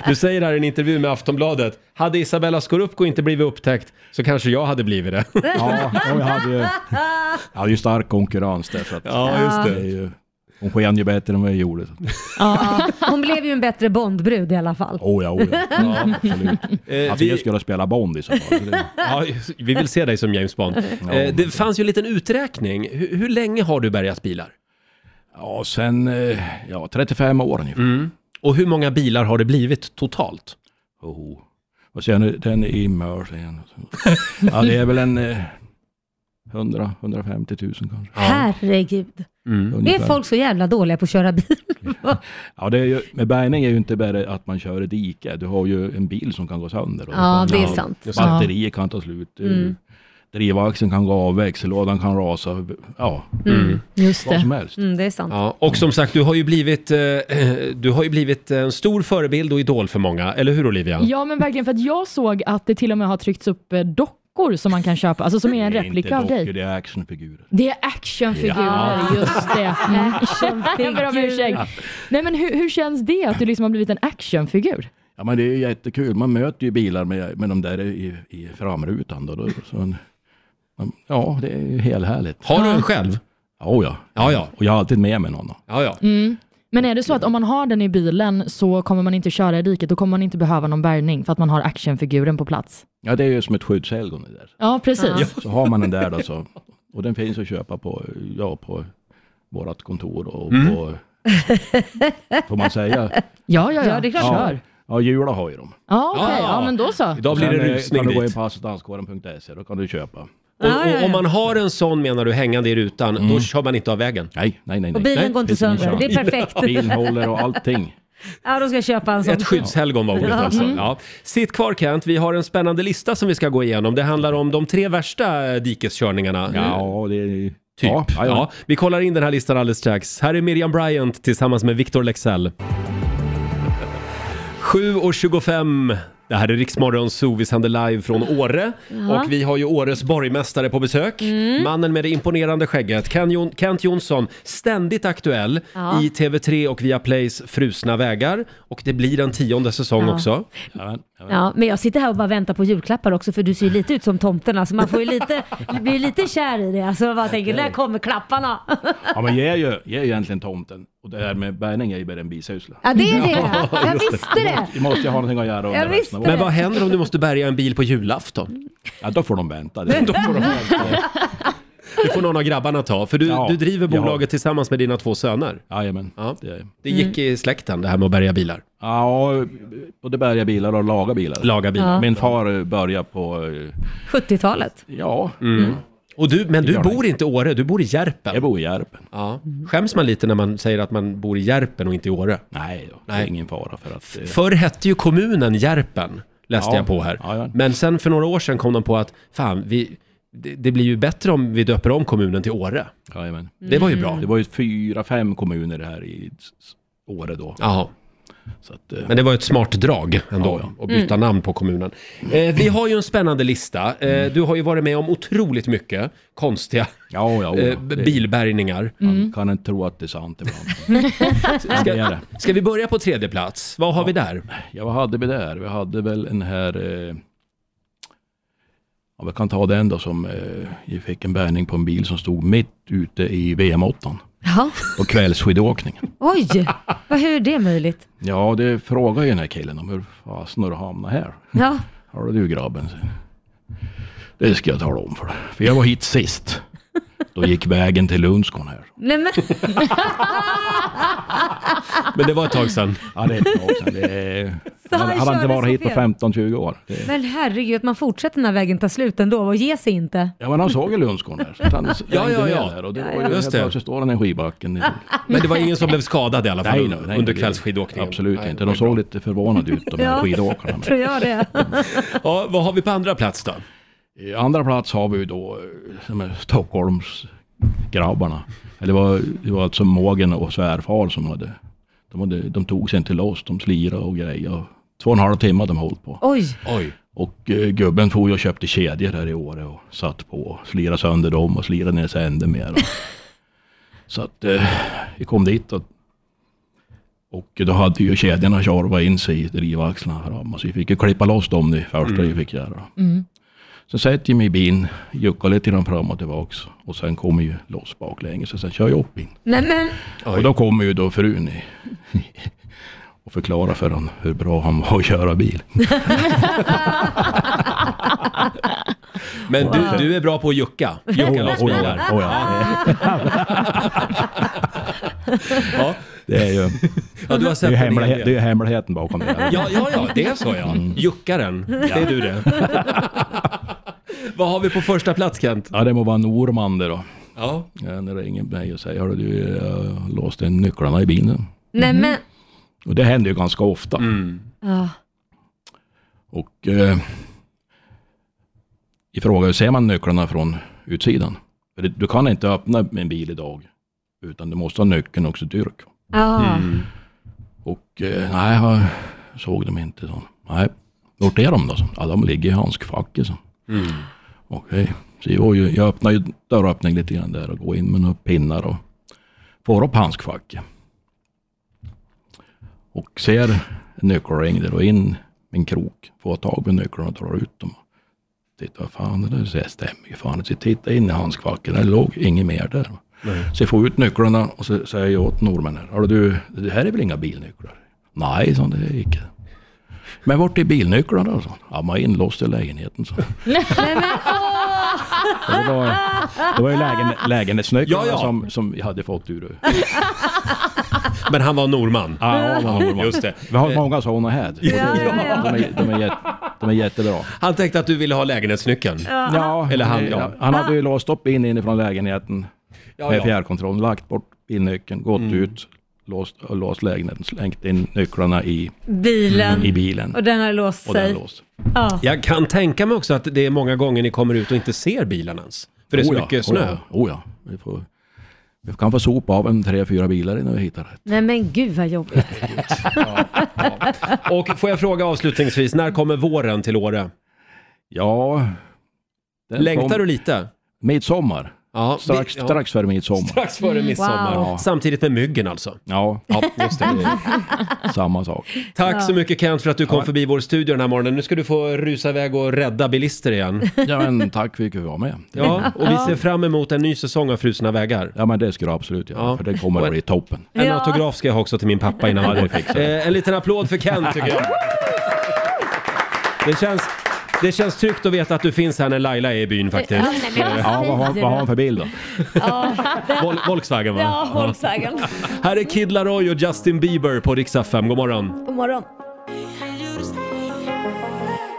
Du säger här i en intervju med Aftonbladet, hade Isabella Scorupco inte blivit upptäckt så kanske jag hade blivit det. ja, och jag hade ju, jag hade ju stark konkurrens där, så att Ja, just det är ju, Hon sken ju bättre än vad jag gjorde. Ja. Hon blev ju en bättre Bondbrud i alla fall. Oh ja, oh ja. ja absolut. Eh, Att vi... vi- jag skulle spela Bond i så fall. Det- Ja, vi vill se dig som James Bond. Eh, det fanns ju en liten uträkning. Hur, hur länge har du bärgat bilar? Ja, sen eh, ja, 35 år ungefär. Och hur många bilar har det blivit totalt? Oh. Och sen den i Mörsen. Ja, det är väl en eh, 100 150 000 kanske. Herregud. Är Ungefär. folk så jävla dåliga på att köra bil? Ja, det är ju, med bärgning är ju inte bara att man kör i dike. Du har ju en bil som kan gå sönder. Och Ja, det är Ja, sant. just det. Batterier kan ta slut. Mm. Mm. Drivaxeln kan gå av, växellådan kan rasa. Ja, Just vad det. som helst. Mm, det är sant. Ja, och som sagt, du har ju blivit, eh, du har ju blivit en stor förebild och idol för många, eller hur Olivia? Ja, men verkligen. För att jag såg att det till och med har tryckts upp eh, dockor som man kan köpa, alltså som är en Det är replika inte av dig. dockor, Det är actionfigurer. Det är actionfigurer, Ja. just det. Mm. Jag ber om ursäkt. Actionfigurer. Nej, men hur, hur känns det att du liksom har blivit en actionfigur? Ja men det är ju jättekul. Man möter ju bilar med, med de där i, i framrutan. Då, då, så en, man- ja, det är ju helt härligt. Har du en själv? Ja, oh ja. Ja, ja. Och jag har alltid med mig någon. då. Ja, ja. Mm. Men är det så att om man har den i bilen så kommer man inte köra i diket, då kommer man inte behöva någon bärgning för att man har actionfiguren på plats? Ja, det är ju som ett skyddshelgon det där. Ja, precis. Ja. Så har man den där då så. Och den finns att köpa på, ja, på vårt kontor och Mm. på, får man säga? Ja, ja, ja. Ja, det är klart. Kör. Ja, Jula har ju dem. Ja, okej. Ja. Ja, men då så. Idag blir Sen, det eh, rusning Kan du gå in dit. på assistanskåren.se, då kan du köpa. Och, Ja, ja, och ja. om man har en sån menar du hängande i rutan, Mm. då kör man inte av vägen. Nej, nej, nej. nej. Och bilen nej, går inte finns ingen sönder. Det chans. är perfekt. Bilen håller och allting. Ja, då ska jag köpa en sån. Ett skyddshelgon var ordet alltså. Mm. Ja. Sitt kvar Kent, vi har en spännande lista som vi ska gå igenom. Det handlar om de tre värsta eh, dikeskörningarna. Ja, det är... Typ. Ja, ja, ja. Ja, vi kollar in den här listan alldeles strax. Här är Miriam Bryant tillsammans med Victor Lexell. 7.25. Det här är Riksmorgon Zoo, vi sänder live från Åre. Och vi har ju Åres borgmästare på besök. Mm. Mannen med det imponerande skägget, Ken Jon- Kent Jonsson. Ständigt aktuell Ja. i TV3 och Viaplays Frusna vägar. Och det blir en tionde säsong Ja. också. Ja, ja. Ja, men jag sitter här och bara väntar på julklappar också för du ser ju lite ut som tomten alltså. Man får ju lite, blir lite kär i det. Alltså man bara tänker, när kommer klapparna? Ja men jag är ju, jag är ju egentligen tomten. Och det här med bärgning är ju bara en bisyssla. Ja, det är det. Jag visste det. Vi måste ju ha någonting att göra under Jag visste resten av det. Men vad händer om du måste bärga en bil på julafton? Ja då får de vänta. Det. Då får de vänta. Det får någon av grabbarna ta, för du, Ja. du driver Ja. bolaget tillsammans med dina två söner. Jajamän. Ja. Det- Det gick i släkten det här med att bärga bilar. Ja, både bärga bilar och laga bilar. Laga bilar. Ja. Min far började på, eh, 70-talet. ja, Mm. Och du, men du gör bor inte i Åre, du bor i jag Järpen. bor i Järpen. Ja. Skäms man lite när man säger att man bor i Järpen och inte i Åre? Nej, då, det Nej. är ingen fara för att... eh, Förr hette ju kommunen Järpen, läste Ja. jag på här. Ja, ja. Men sen för några år sedan kom de på att, fan, vi, det, det blir ju bättre om vi döper om kommunen till Åre. Jajamän. Det var ju bra. Det var ju fyra, fem kommuner här i s- s- Åre då. Ja, Så att, eh, men det var ett smart drag ändå Ja, att byta namn på kommunen. Eh, vi har ju en spännande lista. Mm. Eh, du har ju varit med om otroligt mycket konstiga ja, ja, Oh, ja, eh, det- bilbärgningar. Man kan inte tro att det är sant ibland. Men det är det. Ska vi börja på tredje plats? Vad har vi där? Ja, vad hade vi där? Vi hade väl den här... Eh, ja, vi kan ta den då som eh, vi fick en bärgning på en bil som stod mitt ute i VM-8 Jaha. på kvällsskidåkningen. Oj, vad, hur är det möjligt? Ja, det frågar ju den här killen om hur fasen har du hamnat här? Ja, Hörru du grabben, säger han. det ska jag tala om för dig. För jag var hit sist. Då gick vägen till Lundsgården här. nej men Men det var ett tag sedan. Ja, det är ett tag sedan. Det är... han Han hade inte körde så varit hit på fel. 15-20 år. Det... Men herregud, att man fortsätter när vägen tar slut ändå och ger sig inte. Ja men han såg ju Lundsgården där. Så att han Ja, ja, svängde ja. ner Där och det Ja, var ja. ju Just helt det. plötsligt står han i skidbacken. Men det var ingen som blev skadad i alla fall Nej, un- nej, under det- kvällsskidåkningen? Absolut Nej, inte. det De var bra. såg lite förvånade ut de här Ja. skidåkarna. Tror jag det. Ja, vad har vi på andra plats då? I andra plats har vi ju då eh, de här Stockholmsgrabbarna. Eller det var, det var alltså mågen och svärfar som hade de, hade, de tog sig inte loss, de slirade och grejer. Och Två och en halv timme hade de hållit på. Oj, Oj. Och eh, gubben for ju och köpte kedjor här i Åre och satt på och slirade sönder dem och slirade ner sig ännu mer. Och, så att eh, vi kom dit och, och då hade ju kedjorna Mm. tjorvat in sig i drivaxlarna här framme, så vi fick ju klippa loss dem det första vi fick göra. Sen sätter jag mig i bilen, juckar lite grann fram och tillbaks och sen kommer ju loss baklänges och sen kör jag upp bilen. Nej men, Och då kommer ju då frun i, och förklarar för honom hur bra han var att köra bil. Men Wow. du, du är bra på att jucka. Jo, Jucka ja, loss bilar. oh ja, oh Ja. Det är ju Ja, du har sett det en är hel hemlighet, del. det är ju hemligheten bakom det. här. Ja, ja, ja, det är så ja. Mm. Juckaren, det är du det. Vad har vi på första plats Kent? Ja, det må vara Norman det då. Ja. När det ringer mig och säger, hörru du, jag låste nycklarna i bilen. nej men. Och det händer ju ganska ofta. Ja. Och eh, i fråga, ser man nycklarna från utsidan? För det- Du kan inte öppna en bil idag, utan du måste ha nyckeln också dyrk. Ja. Mm. Och eh, nej, jag såg dem inte. Så. Nej, vart är de då? Så. Ja, de ligger i handskfacket. Så. Okej, så jag, var ju- jag öppnade ju dörröppning lite grann där och går in med några pinnar och får upp handskfacket. Och ser en nyckelring där och in med en krok, får tag på nycklarna och drar ut dem. Tittar, vad fan det där så här stämmer ju fan inte. Så jag tittar in i handskfacket, där låg inget mer där. Så jag får ut nycklarna och så säger jag åt norrmännen, "Hörru du, det här är väl inga bilnycklar? Nej, sa han, det är icke. Men vart är bilnycklarna då? sa han. Ja, man är inlåst i lägenheten, så. Det var, det var ju lägen, lägenhetsnycklarna Ja, ja. Som, som jag hade fått ur... Men han var norman. Ja, Just det. Vi har många sådana här. De, är, de, är jätte, de är jättebra. Han tänkte att du ville ha lägenhetsnyckeln. Ja, Eller han, det- ja. han hade ju låst upp in inifrån lägenheten Ja, Mm. med ja. fjärrkontroll, lagt bort bilnyckeln, gått ut, låst, och låst lägenheten, slängt in nycklarna i, Bilen. Mm, i bilen. Och den har låst Och den sig. låst. Ja. Jag kan tänka mig också att det är många gånger ni kommer ut och inte ser bilen ens. För det är så Oh ja, mycket oh snö. ja, Oh ja, vi får... Vi kan få sopa av en tre, fyra bilar innan vi hittar rätt. Nej men gud vad jobbigt. Oh. Och får jag fråga avslutningsvis, när kommer våren till Åre? Ja... den Längtar kom- du lite? Midsommar. Ja, Strax, vi- ja. strax före midsommar. Strax före midsommar. Wow. Ja. Samtidigt med myggen alltså. Ja, ja just det. Samma sak. Tack så mycket Kent för att du kom förbi vår studio den här morgonen. Nu ska du få rusa iväg och rädda bilister igen. Ja, men tack för att vi var med. Ja, och vi ser fram emot en ny säsong av Frusna vägar. Ja, men det ska du absolut göra, Ja. för det kommer att bli toppen. En Ja. autograf ska jag ha också till min pappa innan han Ja, det går. fixar Eh, en liten applåd för Kent tycker jag. Det känns, det känns tryggt att veta att du finns här när Laila är i byn faktiskt. Ja, nej, men vad Ja, vad, har- säger vad har du? han för bil då? Vol- Volkswagen va? Ja, Volkswagen. Här är Kid Laroi och Justin Bieber på Rix FM. God morgon! God morgon.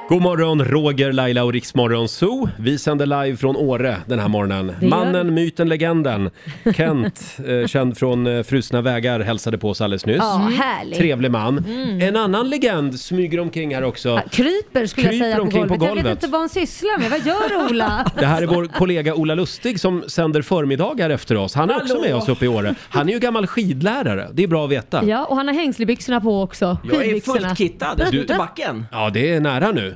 God morgon, Roger, Laila och Riksmorgon Zoo. Vi sänder live från Åre den här morgonen. gör Mannen, myten, legenden. Kent, eh, känd från eh, Frusna vägar, hälsade på oss alldeles nyss. Mm. Ja, härligt. Mm. Trevlig man. En annan legend smyger omkring här också. Ja, Ah, Kryper skulle Kryper jag säga på omkring golvet. på Jag vet golvet. inte vad hon sysslar med. Vad gör Ola? Det här är vår kollega Ola Lustig som sänder förmiddagar efter oss. Han är också med oss uppe i Åre. Han är ju gammal skidlärare. Det är bra att veta. Ja, och han har hängslebyxorna på också. Jag är Skidbyxorna. fullt kittad Du- ut till backen. Ja, det är nära nu.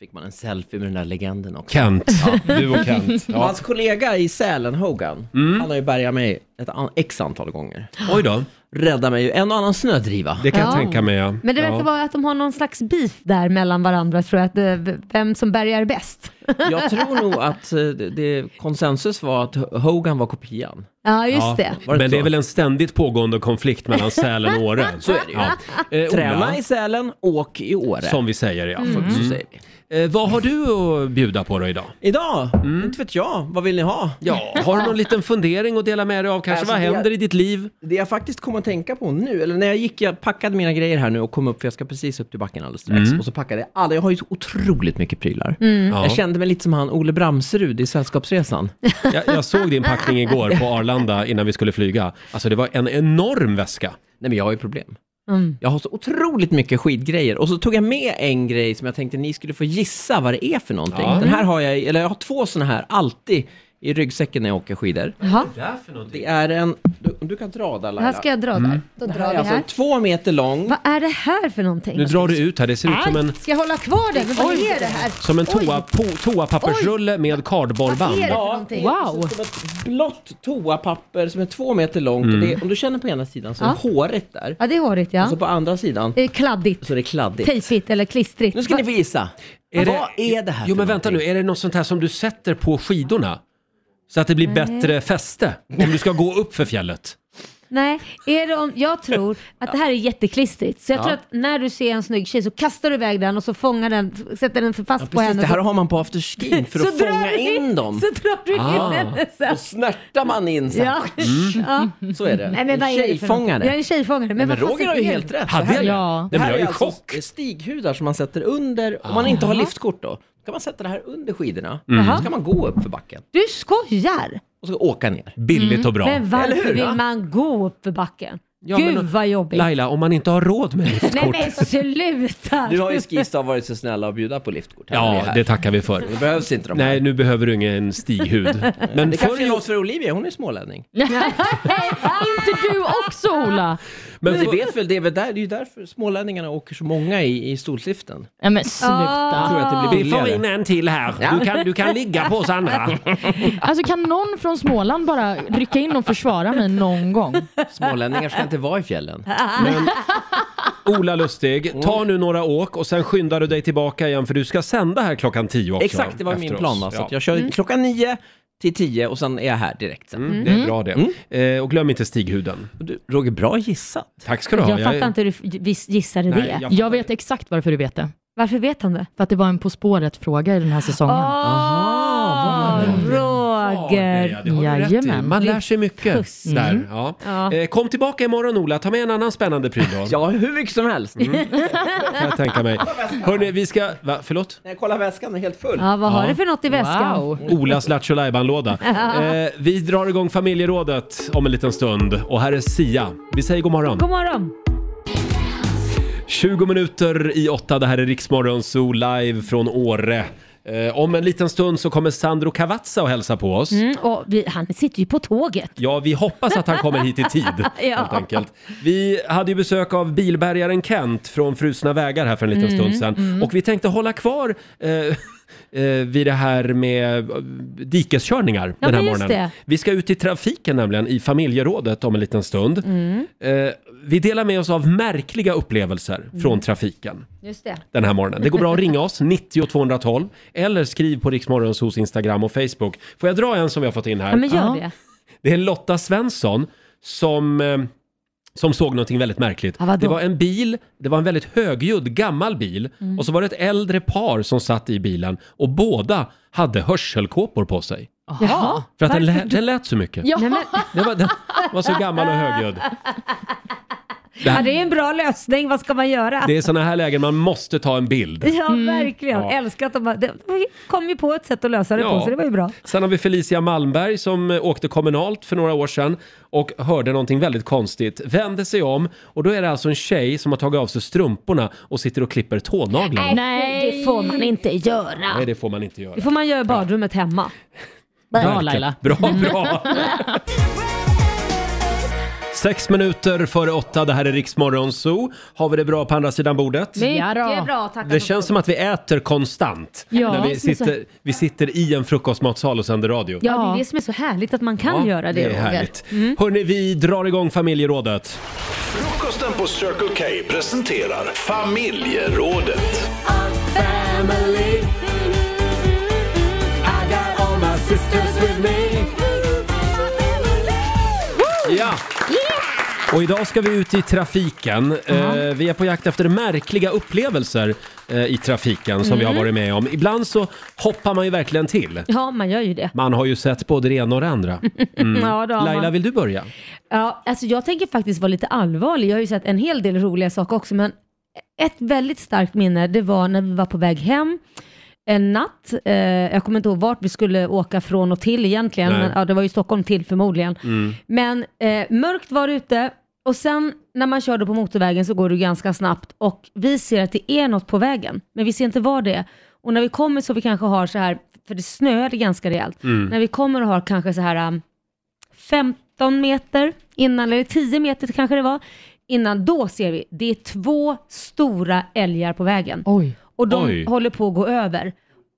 Fick man en selfie med den där legenden också. Kent. Du och Kent. Och Hans kollega i Sälenhogan, Mm. han har ju bärgat mig ett an- x antal gånger. Oj då. Räddar mig ju en och annan snödriva. Det kan jag Ja. tänka mig. Ja. Men det verkar ja. vara att de har någon slags beef där mellan varandra tror jag. Att, eh, vem som bärgar bäst. Jag tror nog att eh, det, det, konsensus var att Hogan var kopian. Ja, just Ja, det. Var det Men det inte är så? väl en ständigt pågående konflikt mellan Sälen och Åre. Så är det ju. Eh, Ola, Träna i Sälen, åk i Åre. Som vi säger ja. Mm. Så Mm. säger vi. Eh, vad har du att bjuda på då idag? Idag, Mm. inte vet jag, vad vill ni ha? Ja, har du någon liten fundering att dela med dig av kanske? Alltså, vad det- händer i ditt liv? Mm. Det jag faktiskt kom att tänka på nu, eller när jag gick, jag packade mina grejer här nu och kom upp, för jag ska precis upp till backen alldeles strax. Och så packade jag alla, jag har ju så otroligt mycket prylar. Mm. Ja, Jag kände mig lite som han Ole Bramserud i Sällskapsresan. jag, jag såg din packning igår på Arlanda innan vi skulle flyga. Alltså det var en enorm väska. Nej men jag har ju problem. Mm. Jag har så otroligt mycket skidgrejer. Och så tog jag med en grej som jag tänkte ni skulle få gissa vad det är för någonting. Den här har jag, i- eller jag har två sådana här alltid i ryggsäcken när jag åker skidor. Jaha, Det är en, du, om du kan dra där det här Laila. ska jag dra Mm. där. Då Det här drar är vi alltså här. två meter lång. Vad är det här för någonting? Nu drar du ut här, det ser ut som en, Ska jag hålla kvar den? Men vad är det här? som en Oj, toa, po, toapappersrulle med Vad kardborreband. är det för Ja. någonting? Wow! Som ett blått toapapper som är två meter långt. Och det, om du känner på ena sidan så är Ja. håret där. Alltså- Ja, det är hårigt ja. Och så på andra sidan Är det kladdigt? så är det kladdigt. Tejpigt eller klistrigt? Nu ska ni få gissa. Är Vad är det här Jo för men vänta nu, är det något sånt här som du sätter på skidorna? Så att det blir Nej. bättre fäste om du ska gå upp för fjället? Nej, är det om, jag tror att det här är jätteklistrigt. Så jag Ja. tror att när du ser en snygg tjej så kastar du iväg den och så fångar den, sätter den för fast på Precis, henne. det här och har man på afterskin för Så att drar fånga du in dem. Så drar du Ah. in henne sen. Och snärtar man in sen. Ja. Ja. Så är det. Nej, men En vad är det för tjejfångare. något? Ja, en tjejfångare. Men, Men, men vad fan Roger har ju säger helt du? rätt. Hade Det här jag är- det? Det här Ja. Nej, men jag är är i alltså stighudar som man sätter under. Om man inte har liftkort då, då kan man sätta det här under skidorna. Mm. Så kan man gå upp för backen Du skojar! och så åka ner. Billigt och bra. Men varför Eller hur, vill va? man gå upp för backen? Ja, Gud men- vad jobbigt. Laila, om man inte har råd med Nej liftkort. men sluta! Du har ju Skistar varit så snälla att bjuda på liftkort. Ja, det tackar vi för. Det behövs inte de här. Nej, nu behöver du ingen stighud. Men det förr kanske är i något för Olivia, hon är smålänning. Inte du också Ola? Men Men- vi vet väl, det är, väl där, det är ju därför smålänningarna åker så många i, i solstiften. Ja, men sluta. Jag tror att det blir Vi får in billigare. en till här. Du kan, du kan ligga på oss andra. Alltså kan någon från Småland bara rycka in och försvara mig någon gång? Smålänningar ska inte vara i fjällen. Ola Lustig, Mm. ta nu några åk och sen skyndar du dig tillbaka igen för du ska sända här klockan 10 också. Exakt, det var min efter plan oss. va. Så Ja. att jag kör klockan nio till tio och sen är jag här direkt sen. Mm, Det är bra det. Eh, och glöm inte stighuden. Du, Roger, bra gissat. Tack ska du ha. Jag Jag fattar är- inte hur du vis- gissade Nej, det. jag- Jag vet exakt varför du vet det. Varför vet han det? För att det var en På spåret-fråga i den här säsongen. Aha, Roger! Det har du rätt i. Jajamän. Man lär sig mycket. Puss. Mm. Där, ja. Ja. Eh, kom tillbaka imorgon Ola, ta med en annan spännande pryl då. Mm. Ja, hur mycket som helst. Kan jag tänka mig. Hörni, vi ska... Va? Förlåt? Nej, kolla väskan är helt full. Ja, vad har Ja. du för något i väskan? Wow. Olas Lattjo låda eh, Vi drar igång familjerådet om en liten stund. Och här är Sia. Vi säger god morgon. God morgon! 20 minuter i åtta, det här är Riksmorgon Zoo live från Åre. Eh, om en liten stund så kommer Sandro Cavazza och hälsa på oss. Mm, och vi, han sitter ju på tåget. Ja, vi hoppas att han kommer hit i tid. Ja. helt enkelt. Vi hade ju besök av bilbärgaren Kent från Frusna vägar här för en Mm, liten stund sedan. Och vi tänkte hålla kvar eh, eh, vid det här med eh, dikeskörningar Ja, den här men just morgonen. det. Vi ska ut i trafiken nämligen i familjerådet om en liten stund. Mm. Eh, vi delar med oss av märkliga upplevelser Mm. från trafiken Just det. den här morgonen. Det går bra att ringa oss, 90 212 eller skriv på Riksmorgonsos Instagram och Facebook. Får jag dra en som vi har fått in här? Ja, men gör Ja. det. Det är Lotta Svensson som, eh, som såg någonting väldigt märkligt. Ja, vadå? det var en bil, det var en väldigt högljudd gammal bil Mm. och så var det ett äldre par som satt i bilen och båda hade hörselkåpor på sig. Jaha. För att den, lä- Varför den lät så mycket. Ja. Nej, men, Den, var, den var så gammal och högljudd. Det, ja, här, det är en bra lösning, vad ska man göra? det är sådana här lägen man måste ta en bild. Ja, verkligen. Mm. Ja. Älskar att de bara, det- vi kom ju på ett sätt att lösa det Ja. på, så det var ju bra. Sen har vi Felicia Malmberg som eh, åkte kommunalt för några år sedan och hörde någonting väldigt konstigt. Vände sig om och då är det alltså en tjej som har tagit av sig strumporna och sitter och klipper tånaglarna. Nej, Nej. Det får man inte göra. det får man inte göra. Det får man göra i badrummet hemma. Bra Verkligen. Laila. Bra, bra. Sex minuter före åtta, det här är Riksmorgon Zoo. Har vi det bra på andra sidan bordet? Ja, då. bra, tackar. Det känns som att vi äter konstant Ja, när vi som sitter, vi sitter i en frukostmatsal och sänder radio. Ja, det är det som är så härligt att man kan göra det, det är Roger. Mm. härligt. Hörni, vi drar igång familjerådet. Frukosten på Circle K presenterar Familjerådet. Ja! Och idag ska vi ut i trafiken. Eh, vi är på jakt efter märkliga upplevelser eh, i trafiken som vi har varit med om. Ibland så hoppar man ju verkligen till. Ja, man gör ju det. Man har ju sett både det ena och det andra. Ja, då har man- Mm. Laila, vill du börja? Ja, alltså jag tänker faktiskt vara lite allvarlig. Jag har ju sett en hel del roliga saker också, men ett väldigt starkt minne, det var när vi var på väg hem en natt. Eh, jag kommer inte ihåg vart vi skulle åka från och till egentligen, Nej. men ja, det var ju Stockholm till förmodligen. Men eh, mörkt var det ute och sen när man kör då på motorvägen så går det ju ganska snabbt och vi ser att det är något på vägen, men vi ser inte vad det är. Och när vi kommer så vi kanske har så här, för det snöade ganska rejält, när vi kommer och har kanske så här um, 15 meter innan, eller 10 meter kanske det var, innan då ser vi, det är två stora älgar på vägen. Oj. Och de Oj. håller på att gå över.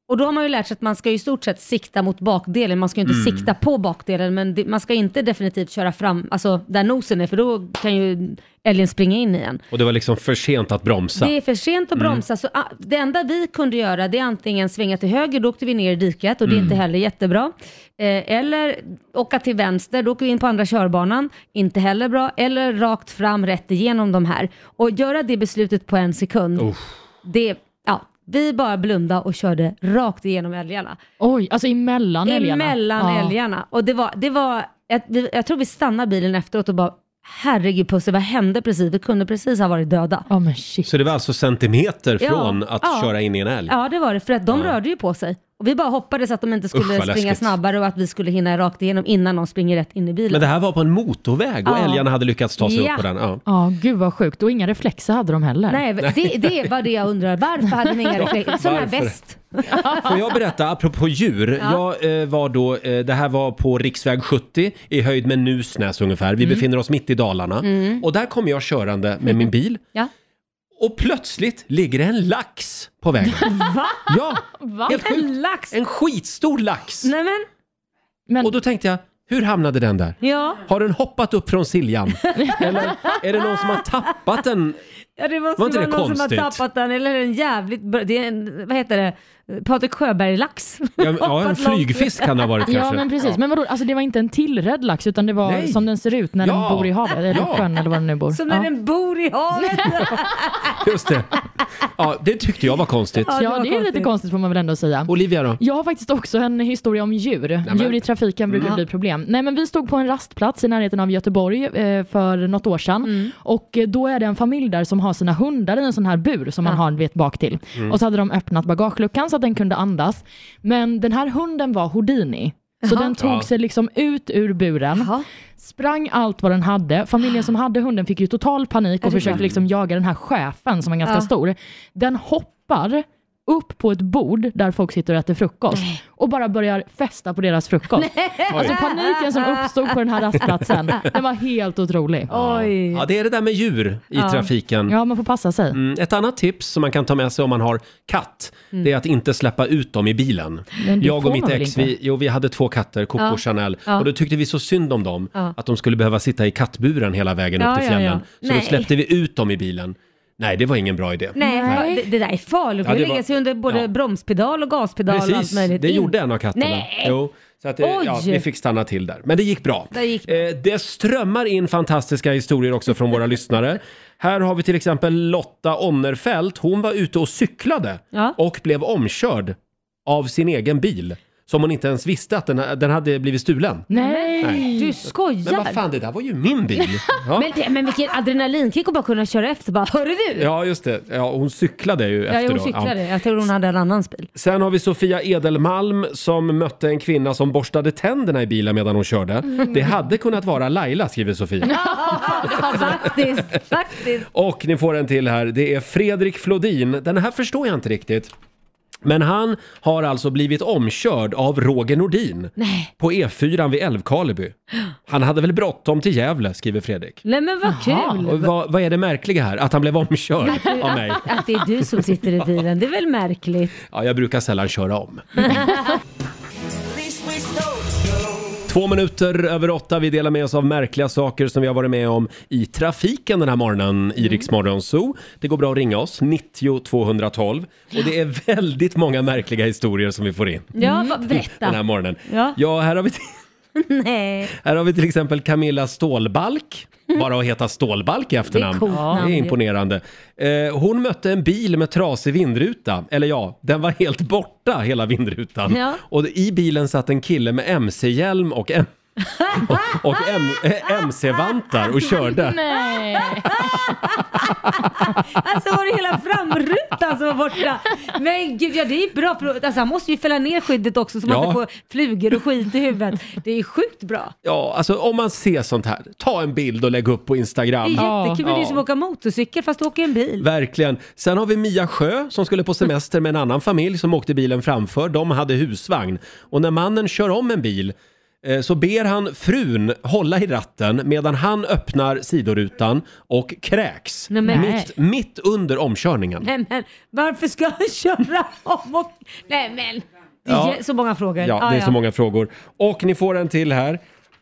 Och då har man ju lärt sig att man ska ju i stort sett sikta mot bakdelen, man ska ju inte Mm. sikta på bakdelen, men det, man ska inte definitivt köra fram, alltså där nosen är, för då kan ju älgen springa in i en. Och det var liksom för sent att bromsa. Det är för sent att Mm. bromsa, så ah, det enda vi kunde göra det är antingen svänga till höger, då åkte vi ner i diket och det är Mm. inte heller jättebra. Eh, eller åka till vänster, då åker vi in på andra körbanan, inte heller bra. Eller rakt fram, rätt igenom de här. Och göra det beslutet på en Oh. sekund, det, ja, vi bara blundade och körde rakt igenom älgarna. Oj, alltså emellan älgarna? Emellan Ja. älgarna. Och det var, det var jag, vi- jag tror vi stannade bilen efteråt och bara, herregud Pusse, vad hände precis? Vi kunde precis ha varit döda. Ja, men shit. Så det var alltså centimeter Ja, från att ja. köra in i en älg? Ja, det var det. För att de Typ. Ja. rörde ju på sig. Och vi bara hoppades att de inte Usch, skulle vad springa läskigt. snabbare och att vi skulle hinna rakt igenom innan någon springer rätt in i bilen. Men det här var på en motorväg och Ja. älgarna hade lyckats ta sig Ja. upp på den. Ja. Ja, gud vad sjukt. Och inga reflexer hade de heller. Nej, det, det var det jag undrar. Varför hade ni inga Ja, reflexer? Sån här varför? väst. Får jag berätta, apropå djur. Ja. Jag eh, var då, eh, det här var på riksväg 70 i höjd med Nusnäs ungefär. Vi Mm. befinner oss mitt i Dalarna. Mm. Och där kom jag körande med min bil. Ja. Och plötsligt ligger det en lax på vägen. Va? Ja, Va? helt sjukt. En lax? En skitstor lax. Nej, men, Och då tänkte jag, hur hamnade den där? ja. Har den hoppat upp från Siljan? Eller är det någon som har tappat den? ja, det måste Var inte vara det någon som konstigt? har tappat den. Eller en jävligt bra, det är en, vad heter det, Patrik Sjöberg-lax. Ja, ja, en Hoppat långt. flygfisk kan det ha varit Ja kanske. men precis, men vadå, alltså det var inte en tillredd lax utan det var Nej. som den ser ut när Ja. den bor i havet, eller Ja. sjön eller var den nu bor. Som när Ja. den bor i havet. Just det. Ja, det tyckte jag var konstigt. Ja, det är lite konstigt får man väl ändå säga. Olivia då? Jag har faktiskt också en historia om djur. men- Djur i trafiken brukar Mm. bli problem. Nej, men vi stod på en rastplats i närheten av Göteborg eh, för något år sedan. Och eh, då är det en familj där som har sina hundar i en sån här bur som man har vet, bak till. Mm. Och så hade de öppnat bagageluckan så att den kunde andas. Men den här hunden var Houdini. Så Jaha. den tog Ja. sig liksom ut ur buren, sprang allt vad den hade. Familjen som hade hunden fick ju total panik och det försökte sant? liksom jaga den här chefen som var ganska Ja. stor. Den hoppar upp på ett bord där folk sitter och äter frukost och bara börjar festa på deras frukost. Alltså paniken som uppstod på den här rastplatsen, den var helt otrolig. Oj. Ja, det är det där med djur i Ja. trafiken. Ja, man får passa sig. Mm, ett annat tips som man kan ta med sig om man har katt, Mm. det är att inte släppa ut dem i bilen. Men det Jag får och mitt man väl ex, inte? vi, jo, vi hade två katter, Coco Ja. och Chanel, Ja. och då tyckte vi så synd om dem Ja. att de skulle behöva sitta i kattburen hela vägen Ja, upp till ja, ja. fjällen. Så Nej. då släppte vi ut dem i bilen. Nej, det var ingen bra idé. Nej, Det, det där är farligt. Ja, Man det lägger var- sig under både ja. bromspedal och gaspedal och allt Precis, möjligt. det In- gjorde en av katterna. Nej. Jo, så att, eh, ja, Oj. vi fick stanna till där. Men det gick bra. Det gick Eh, det strömmar in fantastiska historier också från våra lyssnare. Här har vi till exempel Lotta Onnerfelt. Hon var ute och cyklade och blev omkörd av sin egen bil. Som hon inte ens visste att den, den hade blivit stulen. Nej. Du skojar! Men vad fan, det där var ju min bil! Ja. men, det, men vilken adrenalinkick att bara kunna köra efter bara, hörru du! Ja, just det. Ja, hon cyklade ju Ja, efter hon då. cyklade. Jag tror hon hade en annan bil. Sen har vi Sofia Edelmalm som mötte en kvinna som borstade tänderna i bilen medan hon körde. Mm. Det hade kunnat vara Laila, skriver Sofia. faktiskt, faktiskt. Och ni får en till här. Det är Fredrik Flodin. Den här förstår jag inte riktigt. Men han har alltså blivit omkörd av Roger Nordin Nej. på E4 vid Älvkarleby. Han hade väl bråttom till Gävle, skriver Fredrik. Nej men vad kul! Och vad, vad är det märkliga här? Att han blev omkörd Att du- av mig? Att det är du som sitter i bilen, det är väl märkligt? Ja, jag brukar sällan köra om. Två minuter över åtta, vi delar med oss av märkliga saker som vi har varit med om i trafiken den här morgonen i Rix Morgon Zoo. Det går bra att ringa oss, 90 212. Och det är väldigt många märkliga historier som vi får in Ja, vad- Mm. den här berätta. morgonen. Ja. Ja, här har vi, Nej. här har vi till exempel Camilla Stålbalk. Bara att heta Stålbalk i efternamn. Mm. coolt namn det ju. är imponerande. Eh, hon mötte en bil med trasig vindruta. Eller ja, den var helt borta, hela vindrutan. Ja. Och i bilen satt en kille med mc-hjälm och, M- och, och M- eh, mc-vantar och körde. Nej. Alltså var det hela framrutan som var borta? Men gud, ja det är bra. För, alltså, han måste ju fälla ner skyddet också så man Ja. inte får flugor och skit i huvudet. Det är sjukt bra. Ja, alltså om man ser sånt här, ta en bild och lägg upp på Det är Instagram. jättekul, men det är ju som att åka motorcykel fast du åker i en bil. Verkligen. Sen har vi Mia Sjö som skulle på semester med en annan familj som åkte bilen framför. De hade husvagn. Och när mannen kör om en bil eh, så ber han frun hålla i ratten medan han öppnar sidorutan och kräks Nej, men- mitt, mitt under omkörningen. Nej men varför ska han köra om och... Nej men. Det Ja. är så många frågor. Ja, Ah, det är så många frågor. Och ni får en till här.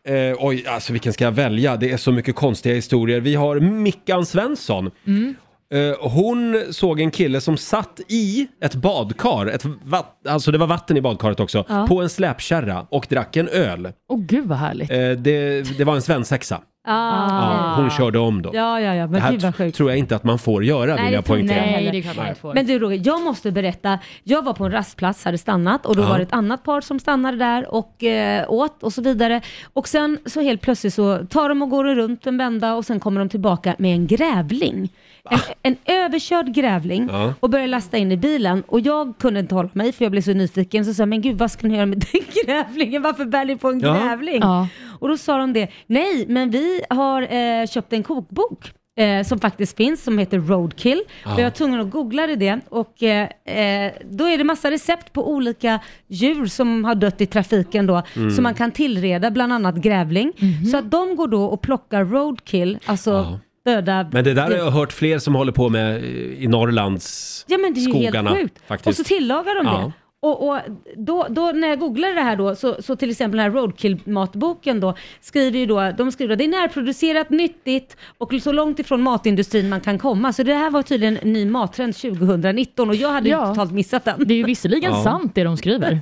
Eh, oj, alltså vilken ska jag välja? Det är så mycket konstiga historier. Vi har Mickan Svensson. Mm. Eh, hon såg en kille som satt i ett badkar, ett vatt, alltså det var vatten i badkaret också, Ja. på en släpkärra och drack en öl. Åh gud vad härligt. Eh, det, det var en svensexa. Ah. Ja, hon körde om då. Ja, ja, ja. det Men här gud vad tr- tror jag inte att man får göra vill jag tror inte poängtera. jag heller. Men du Roger, jag måste berätta. Jag var på en rastplats, hade stannat och då Ja. var det ett annat par som stannade där och eh, åt och så vidare. Och sen så helt plötsligt så tar de och går runt en vända och sen kommer de tillbaka med en grävling. En, en överkörd grävling Ja. och börjar lasta in i bilen och jag kunde inte hålla mig för jag blev så nyfiken så sa jag, men gud vad ska ni göra med den grävlingen? Varför bär ni på en Ja. grävling? Ja. Och då sa de det, nej men vi har eh, köpt en kokbok eh, som faktiskt finns som heter Roadkill. Ja. Och jag var tvungen att googla det och eh, eh, då är det massa recept på olika djur som har dött i trafiken då Mm. som man kan tillreda, bland annat grävling. Så att de går då och plockar Roadkill, alltså döda Men det där har jag hört fler som håller på med eh, i Norrlands Ja men det är ju skogarna, helt sjukt. faktiskt. Och så tillagar de Ja. det. Och, och då, då när jag googlade det här då, så, så till exempel den här roadkill-matboken då, skriver ju då, de skriver att det är närproducerat, nyttigt och så långt ifrån matindustrin man kan komma. Så det här var tydligen en ny mattrend 2019 och jag hade ju totalt missat den. Det är ju visserligen Ja. sant det de skriver.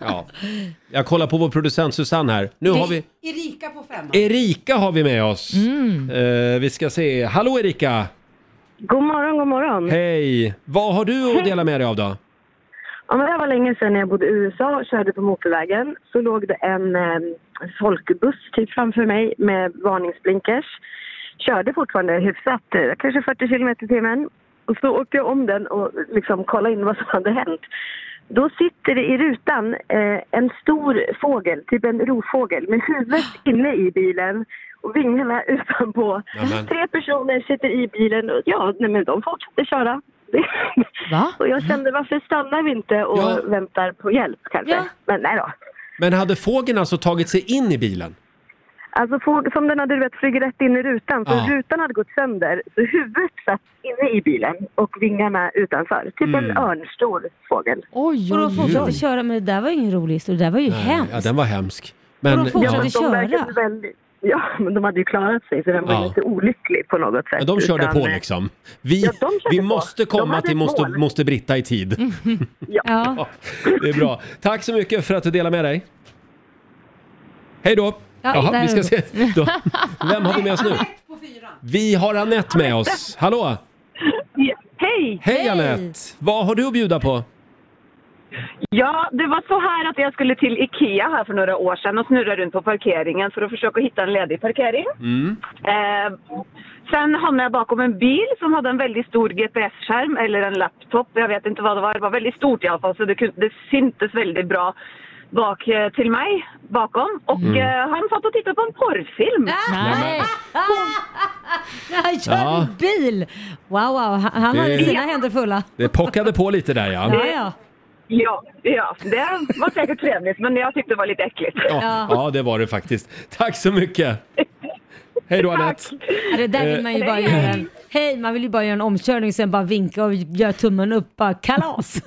Ja. Jag kollar på vår producent Susanne här. Nu har vi Erika på femman. Erika har vi med oss. Mm. Eh, vi ska se. Hallå Erika! God morgon, god morgon. Hej! Vad har du att dela med dig av då? Ja, men det här var länge sedan när jag bodde i USA och körde på motorvägen. Så låg det en eh, folkbuss typ framför mig med varningsblinkers. Körde fortfarande hyfsat, eh, kanske 40 kilometer i timmen. Och så åkte jag om den och liksom kollade in vad som hade hänt. Då sitter det i rutan eh, en stor fågel, typ en rovfågel, med huvudet inne i bilen och vingarna utanpå. Nämen. Tre personer sitter i bilen och ja, nej, men de fortsätter köra. Och jag kände varför stannar vi inte och Ja. väntar på hjälp kanske? Men nej då. Men hade fågeln alltså tagit sig in i bilen? Alltså for, som den hade du vet, flugit rätt in i rutan, så Ja. rutan hade gått sönder. Så huvudet satt inne i bilen och vingarna utanför. Typ en Mm. örnstor fågel. och de oj, fortsatte oj. köra, men det där var ju ingen rolig historia, det där var ju hemskt. Ja, den var hemsk. Och Men, de fortsatte Ja, de verkade köra. väldigt- Ja, men de hade ju klarat sig så den var Ja. inte olycklig på något sätt. men de körde utan, på eh, liksom. Vi, Ja, de körde vi på. måste De komma hade till ett måste, mål. måste Britta i tid. Mm. Ja. Det är bra. Tack så mycket för att du delar med dig. Hej då! Ja, Jaha, där vi ska är se. vi. Då. Vem har vi med oss nu? Vi har Anette med oss. Hallå! Hej! Hej Anette! Vad har du att bjuda på? Ja, det var så här att jag skulle till Ikea här för några år sedan och snurra runt på parkeringen för att försöka hitta en ledig parkering. Mm. Eh, sen hamnade jag bakom en bil som hade en väldigt stor GPS-skärm eller en laptop. Jag vet inte vad det var. Det var väldigt stort i alla fall så det, kunde, det syntes väldigt bra bak eh, till mig bakom. Och Mm. eh, han satt och tittade på en porrfilm. Nej. Han kör Ja. bil! Wow, wow, han, han har ju Det- sina händer fulla. Det pockade på lite där ja. Ja, ja. Ja, ja, det var säkert trevligt men jag tyckte det var lite äckligt. Ja, ja, det var det faktiskt. Tack så mycket! Hej då Anette! Ja, Det där vill man ju bara göra. en- Hej, man vill ju bara göra en omkörning sen bara vinka och göra tummen upp. Bara kalas!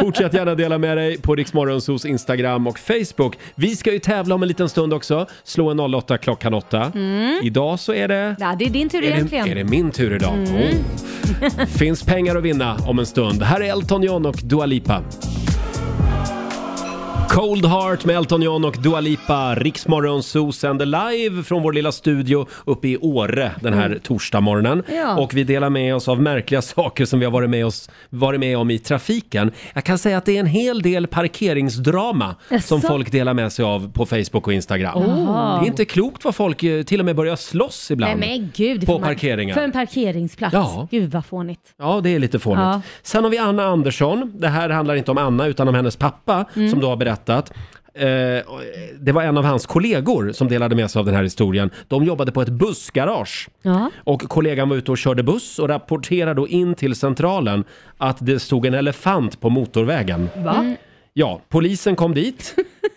Fortsätt gärna dela med dig på Riksmorgonsos Instagram och Facebook. Vi ska ju tävla om en liten stund också. Slå en 08 klockan 8. Mm. Idag så är det... Ja, det är din tur är, det, egentligen. är det min tur idag? Mm. Oh. Finns pengar att vinna om en stund. Här är Elton John och Dua Lipa. Cold Heart med Elton John och Dua Lipa. Riksmorgonzoo sänder live från vår lilla studio uppe i Åre den här Mm. torsdagsmorgonen. Ja. Och vi delar med oss av märkliga saker som vi har varit med, oss, varit med om i trafiken. Jag kan säga att det är en hel del parkeringsdrama Jaså? som folk delar med sig av på Facebook och Instagram. Oh. Det är inte klokt vad folk eh, till och med börjar slåss ibland. Nej men gud. det På får man- parkeringar. För en parkeringsplats. Ja. Gud vad fånigt. Ja, det är lite fånigt. Ja. Sen har vi Anna Andersson. Det här handlar inte om Anna utan om hennes pappa Mm. som du har berättat. Eh, och, eh, det var en av hans kollegor som delade med sig av den här historien. De jobbade på ett bussgarage. Ja. Och kollegan var ute och körde buss och rapporterade då in till centralen att det stod en elefant på motorvägen. Va? Ja, polisen kom dit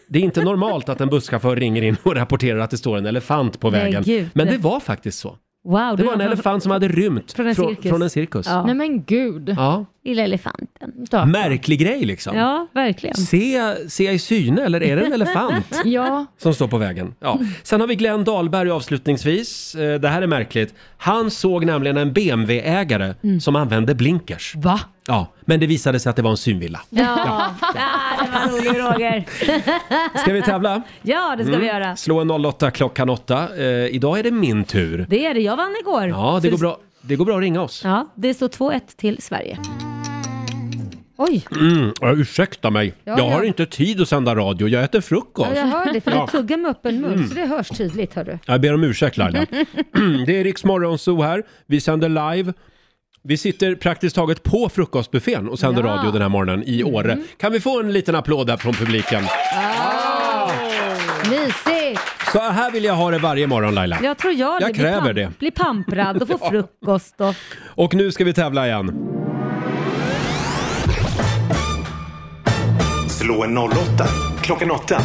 Det är inte normalt att en busschaufför ringer in och rapporterar att det står en elefant på Nej, vägen. gud. Men det var faktiskt så. Wow, Det var en elefant som hade rymt Från en från, cirkus. från en cirkus. Ja. Nej men gud. Ja. Lilla elefanten. Märklig grej liksom. Ja, verkligen. Se, se i syne, eller är det en elefant? ja. Som står på vägen. Ja. Sen har vi Glenn Dahlberg avslutningsvis. Eh, Det här är märkligt. Han såg nämligen en BMW-ägare Mm. som använde blinkers. Va? Ja, men det visade sig att det var en synvilla. Ja, Ah, det var rolig Roger. Ska vi tävla? Ja, det ska vi göra. Slå en 08 klockan 8. Eh, idag är det min tur. Det är det. Jag vann igår. Ja, Så det går, bra, det går bra att ringa oss. Ja, det står 2-1 till Sverige. Oj, Mm, ja, ursäkta mig, Ja, jag ja. har inte tid att sända radio, jag äter frukost. ja, jag hör det för Ja. du tuggar med öppen mun Mm. så det hörs tydligt hörru. Jag ber om ursäkt Laila. det är Riks Morgonzoo här, vi sänder live. Vi sitter praktiskt taget på frukostbuffén och sänder Ja. radio den här morgonen i Åre. Kan vi få en liten applåd där från publiken? Mysigt! Så här vill jag ha det varje morgon Laila. Jag tror jag, Jag det. Bli kräver pam- det. Bli pamprad och få frukost och... Och nu ska vi tävla igen. Slå en 08 klockan 8.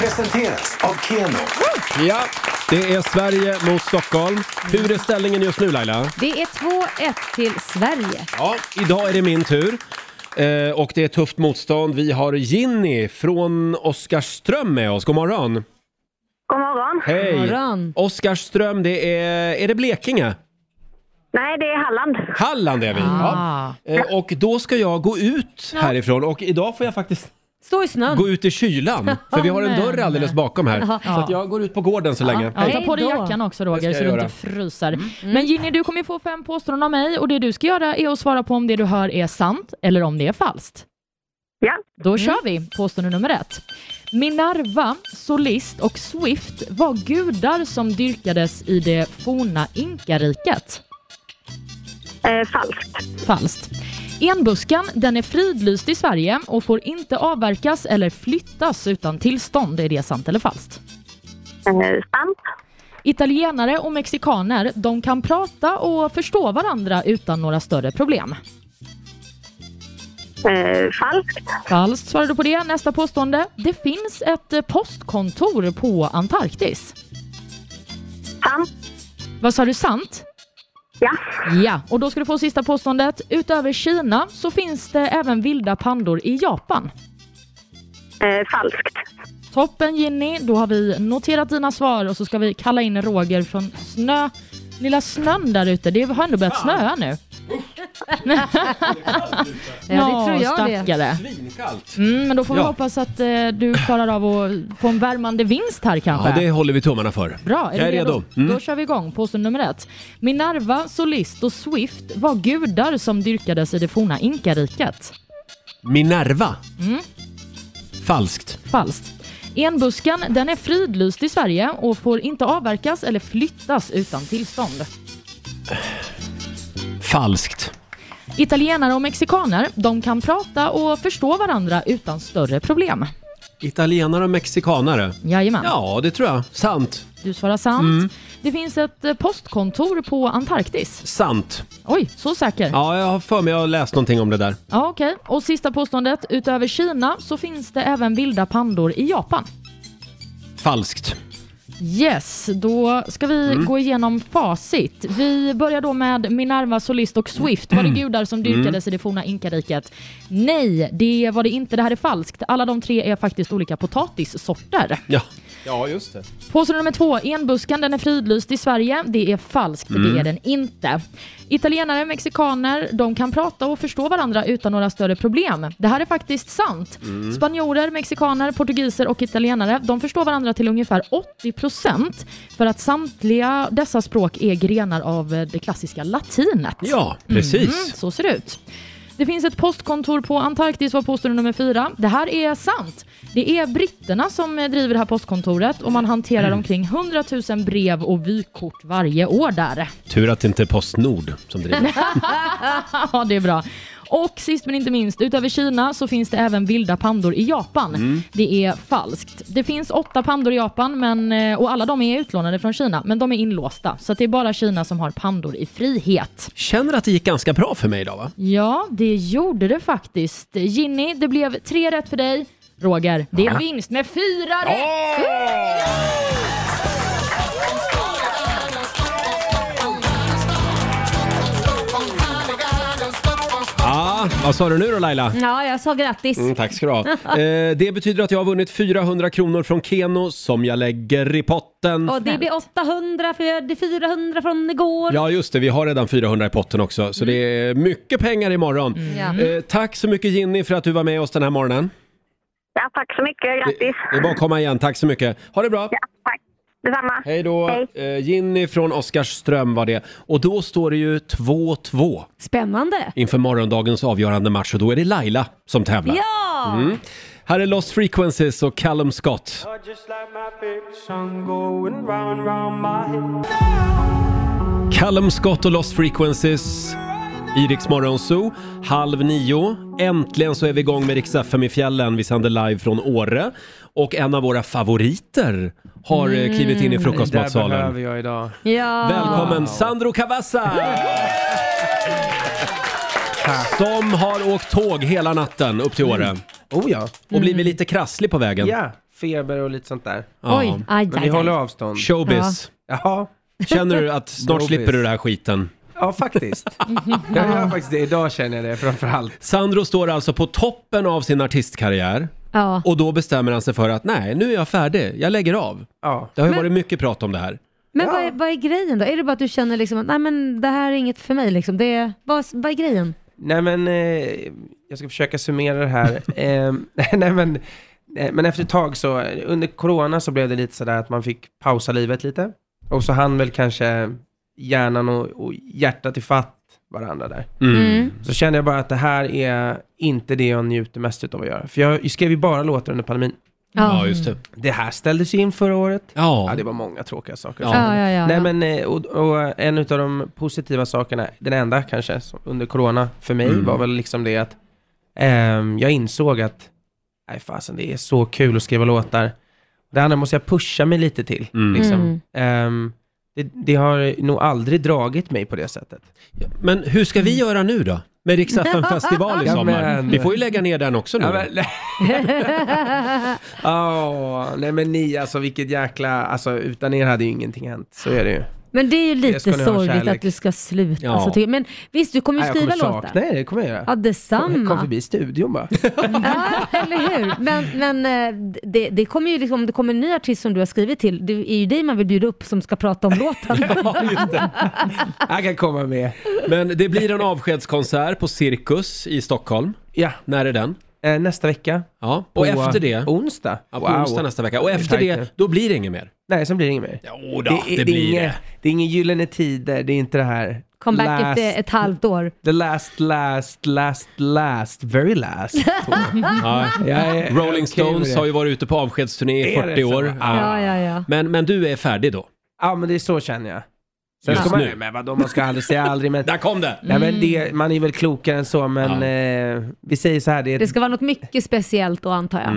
Presenteras av Keno. Ja, det är Sverige mot Stockholm. Hur är ställningen just nu Laila? Det är 2-1 till Sverige. Ja, idag är det min tur. Eh, och det är tufft motstånd. Vi har Ginny från Oskarström med oss. God morgon! God morgon. Hej! Oskarström, det är... Är det Blekinge? Nej, det är Halland. Halland är vi! Ah. Ja. Eh, och då ska jag gå ut härifrån och idag får jag faktiskt Stå i snön. gå ut i kylan. För vi har en Amen. dörr alldeles bakom här. Ja. Så att jag går ut på gården så länge. Ja, ta på dig Hej då. jackan också Det ska Roger jag så du göra. Mm. inte fryser. Mm. Men Ginny, du kommer ju få fem påståenden av mig och det du ska göra är att svara på om det du hör är sant eller om det är falskt. Ja. Då Mm. kör vi påstående nummer ett. Minerva, Solist och Swift var gudar som dyrkades i det forna inkariket. Eh, falskt. Falskt. Enbuskan, den är fridlyst i Sverige och får inte avverkas eller flyttas utan tillstånd. Är det sant eller falskt? sant. Italienare och mexikaner, de kan prata och förstå varandra utan några större problem. Eh, falskt. Falskt svarar du på det. Nästa påstående. Det finns ett eh, postkontor på Antarktis. Sant. Vad sa du, sant? Ja. Ja, och då ska du få sista påståendet. Utöver Kina så finns det även vilda pandor i Japan. Eh, falskt. Toppen Ginny, då har vi noterat dina svar och så ska vi kalla in Roger från snö... Lilla snön där ute, det har ändå börjat snöa nu. Ja, det tror jag det. stackare. Svinkallt. Mm, men då får vi Ja. hoppas att eh, du klarar av att få en värmande vinst här kanske. Ja, det håller vi tummarna för. Bra, är jag är du redo. redo? Mm. Då kör vi igång. Påstående nummer ett. Minerva, Solist och Swift var gudar som dyrkades i det forna inkariket. Minerva. Mm, Falskt. falskt. Enbuskan, den är fridlyst i Sverige och får inte avverkas eller flyttas utan tillstånd. Falskt. Italienare och mexikaner, de kan prata och förstå varandra utan större problem. Italienare och mexikanare. Jajamän. Ja, det tror jag. Sant. Du svarar sant. Mm. Det finns ett eh, postkontor på Antarktis. Sant. Oj, så säker. Ja, jag har för mig att jag har läst någonting om det där. Ja, okej. Och sista påståendet. Utöver Kina så finns det även vilda pandor i Japan. Falskt. Yes, då ska vi Mm. gå igenom facit. Vi börjar då med Minerva, Solist och Swift. Var det gudar som dyrkades i det forna inkariket? Nej, det var det inte. Det här är falskt. Alla de tre är faktiskt olika potatissorter. Ja. Ja, just det. Påstående nummer två. Enbuskan den är fridlyst i Sverige. Det är falskt, Mm. det är den inte. Italienare, mexikaner, de kan prata och förstå varandra utan några större problem. Det här är faktiskt sant. Mm. Spanjorer, mexikaner, portugiser och italienare, de förstår varandra till ungefär 80% för att samtliga dessa språk är grenar av eh, det klassiska latinet. Ja, precis. Mhm, så ser det ut. Det finns ett postkontor på Antarktis var påstående nummer fyra. Det här är sant. Det är britterna som eh, driver det här postkontoret och man hanterar omkring 100 000 brev och vykort varje år där. Tur att det inte är Postnord som driver. ja, det är bra. Och sist men inte minst, utöver Kina så finns det även vilda pandor i Japan. Mm. Det är falskt. Det finns åtta pandor i Japan men, eh, och alla de är utlånade från Kina, men de är inlåsta. Så att det är bara Kina som har pandor i frihet. Känner att det gick ganska bra för mig idag va? Ja, det gjorde det faktiskt. Ginny, det blev tre rätt för dig Roger. Det Ja. är vinst med fyra rätt! Ja, vad sa du nu då Laila? Ja, jag sa grattis. Mm, tack ska du ha. Eh, det betyder att jag har vunnit 400 kronor från Keno som jag lägger i potten. Och det blir 800 för jag hade 400 från igår. Ja, just det. Vi har redan 400 i potten också, så det är mycket pengar imorgon. Mm. Eh, tack så mycket Ginny för att du var med oss den här morgonen. Ja, tack så mycket. Grattis. Det är bara att komma igen. Tack så mycket. Ha det bra. Detsamma. Hej då. Eh, Ginny från Oskarström var det. Och då står det ju 2-2 Spännande. inför morgondagens avgörande match och då är det Laila som tävlar. Ja! Mm. Här är Lost Frequencies och Callum Scott. Callum Scott och Lost Frequencies i Rix Morgon Zoo. Halv nio. Äntligen så är vi igång med Rix FM i fjällen. Vi sänder live från Åre. Och en av våra favoriter har eh, klivit in i Mm. Det där frukostmatsalen. behöver jag idag. Ja. Välkommen Sandro Cavazza! Som har åkt tåg hela natten upp till Åre. Oh ja. Och blivit lite krasslig på vägen. Ja, feber och lite sånt där. Ja. Oj, aj, Men aj, vi aj. håller avstånd. Showbiz. Ja. Känner du att snart Showbiz. slipper du den här skiten? Ja, faktiskt. Jag gör faktiskt det. Idag känner jag det framförallt. Sandro står alltså på toppen av sin artistkarriär. Ja. Och då bestämmer han sig för att nej, nu är jag färdig. Jag lägger av. Det har ju Men- varit mycket prat om det här. Men vad, är, vad är grejen då? Är det bara att du känner liksom att nej men det här är inget för mig liksom? Det är, vad, vad är grejen? Nej men, eh, jag ska försöka summera det här. eh, nej men, eh, men efter ett tag så, eh, under corona så blev det lite sådär att man fick pausa livet lite. Och så hann väl kanske hjärnan och, och hjärtat i fatt varandra där. Mm. Mm. Så kände jag bara att det här är inte det jag njuter mest av att göra. För jag skrev ju bara låtar under pandemin. Ja. Ja, just det. Det här ställdes ju in förra året. Ja. det var många tråkiga saker. Ja. Ja, ja, ja, Nej, ja. men, eh, och, och en av de positiva sakerna, den enda kanske, som- under corona för mig Mm. var väl liksom det att ehm, jag insåg att nej fasen, det är så kul att skriva låtar. Det andra måste jag pusha mig lite till. Mm. Liksom. Mm. Ehm, det, det har nog aldrig dragit mig på det sättet. Men hur ska vi göra nu då? Med Rix FM festival i Ja, sommar. men- Vi får ju lägga ner den också nu. Ja, men- Åh, nej men ni alltså vilket jäkla, alltså utan er hade ju ingenting hänt. Så är det ju. Men det är ju ska lite ni ha sorgligt kärlek. att du ska sluta. Ja. Alltså, tycker- men visst, du kommer ju Nej, jag skriva kommer låtar. sakna er, det kommer jag göra. Ja, detsamma. Kom, kom förbi studion bara. Eller hur? Men, men eh, det, det kommer ju liksom, om det kommer en ny artist som du har skrivit till, det är ju dig man vill bjuda upp som ska prata om låten. Jag kan komma med. Men det blir en avskedskonsert på Cirkus i Stockholm. Ja. Eh, När är den? nästa vecka. Ja, och På, efter det? Onsdag. Ja, på Wow. onsdag nästa vecka. Och Det är efter tajt det, då blir det inget mer. Nej, sen blir det inget mer. Jo då, det är blir inget- det. Det är inga gyllene tider, det är inte det här. Comeback last, efter ett halvt år. The last, last, last, last, very last. Ja. Jag är- okej Rolling med Stones det. har ju varit ute på avskedsturné i Är det 40 så? år. Ja, ja, ja. Men, men du är färdig då? Ja, men det är så känner jag. Just ska man, nu. Men vadå, man ska aldrig säga aldrig. Men, Där kom det! Nej, men det! Man är väl klokare än så, men eh, vi säger så här. Det, är- Det ska vara något mycket speciellt då antar jag.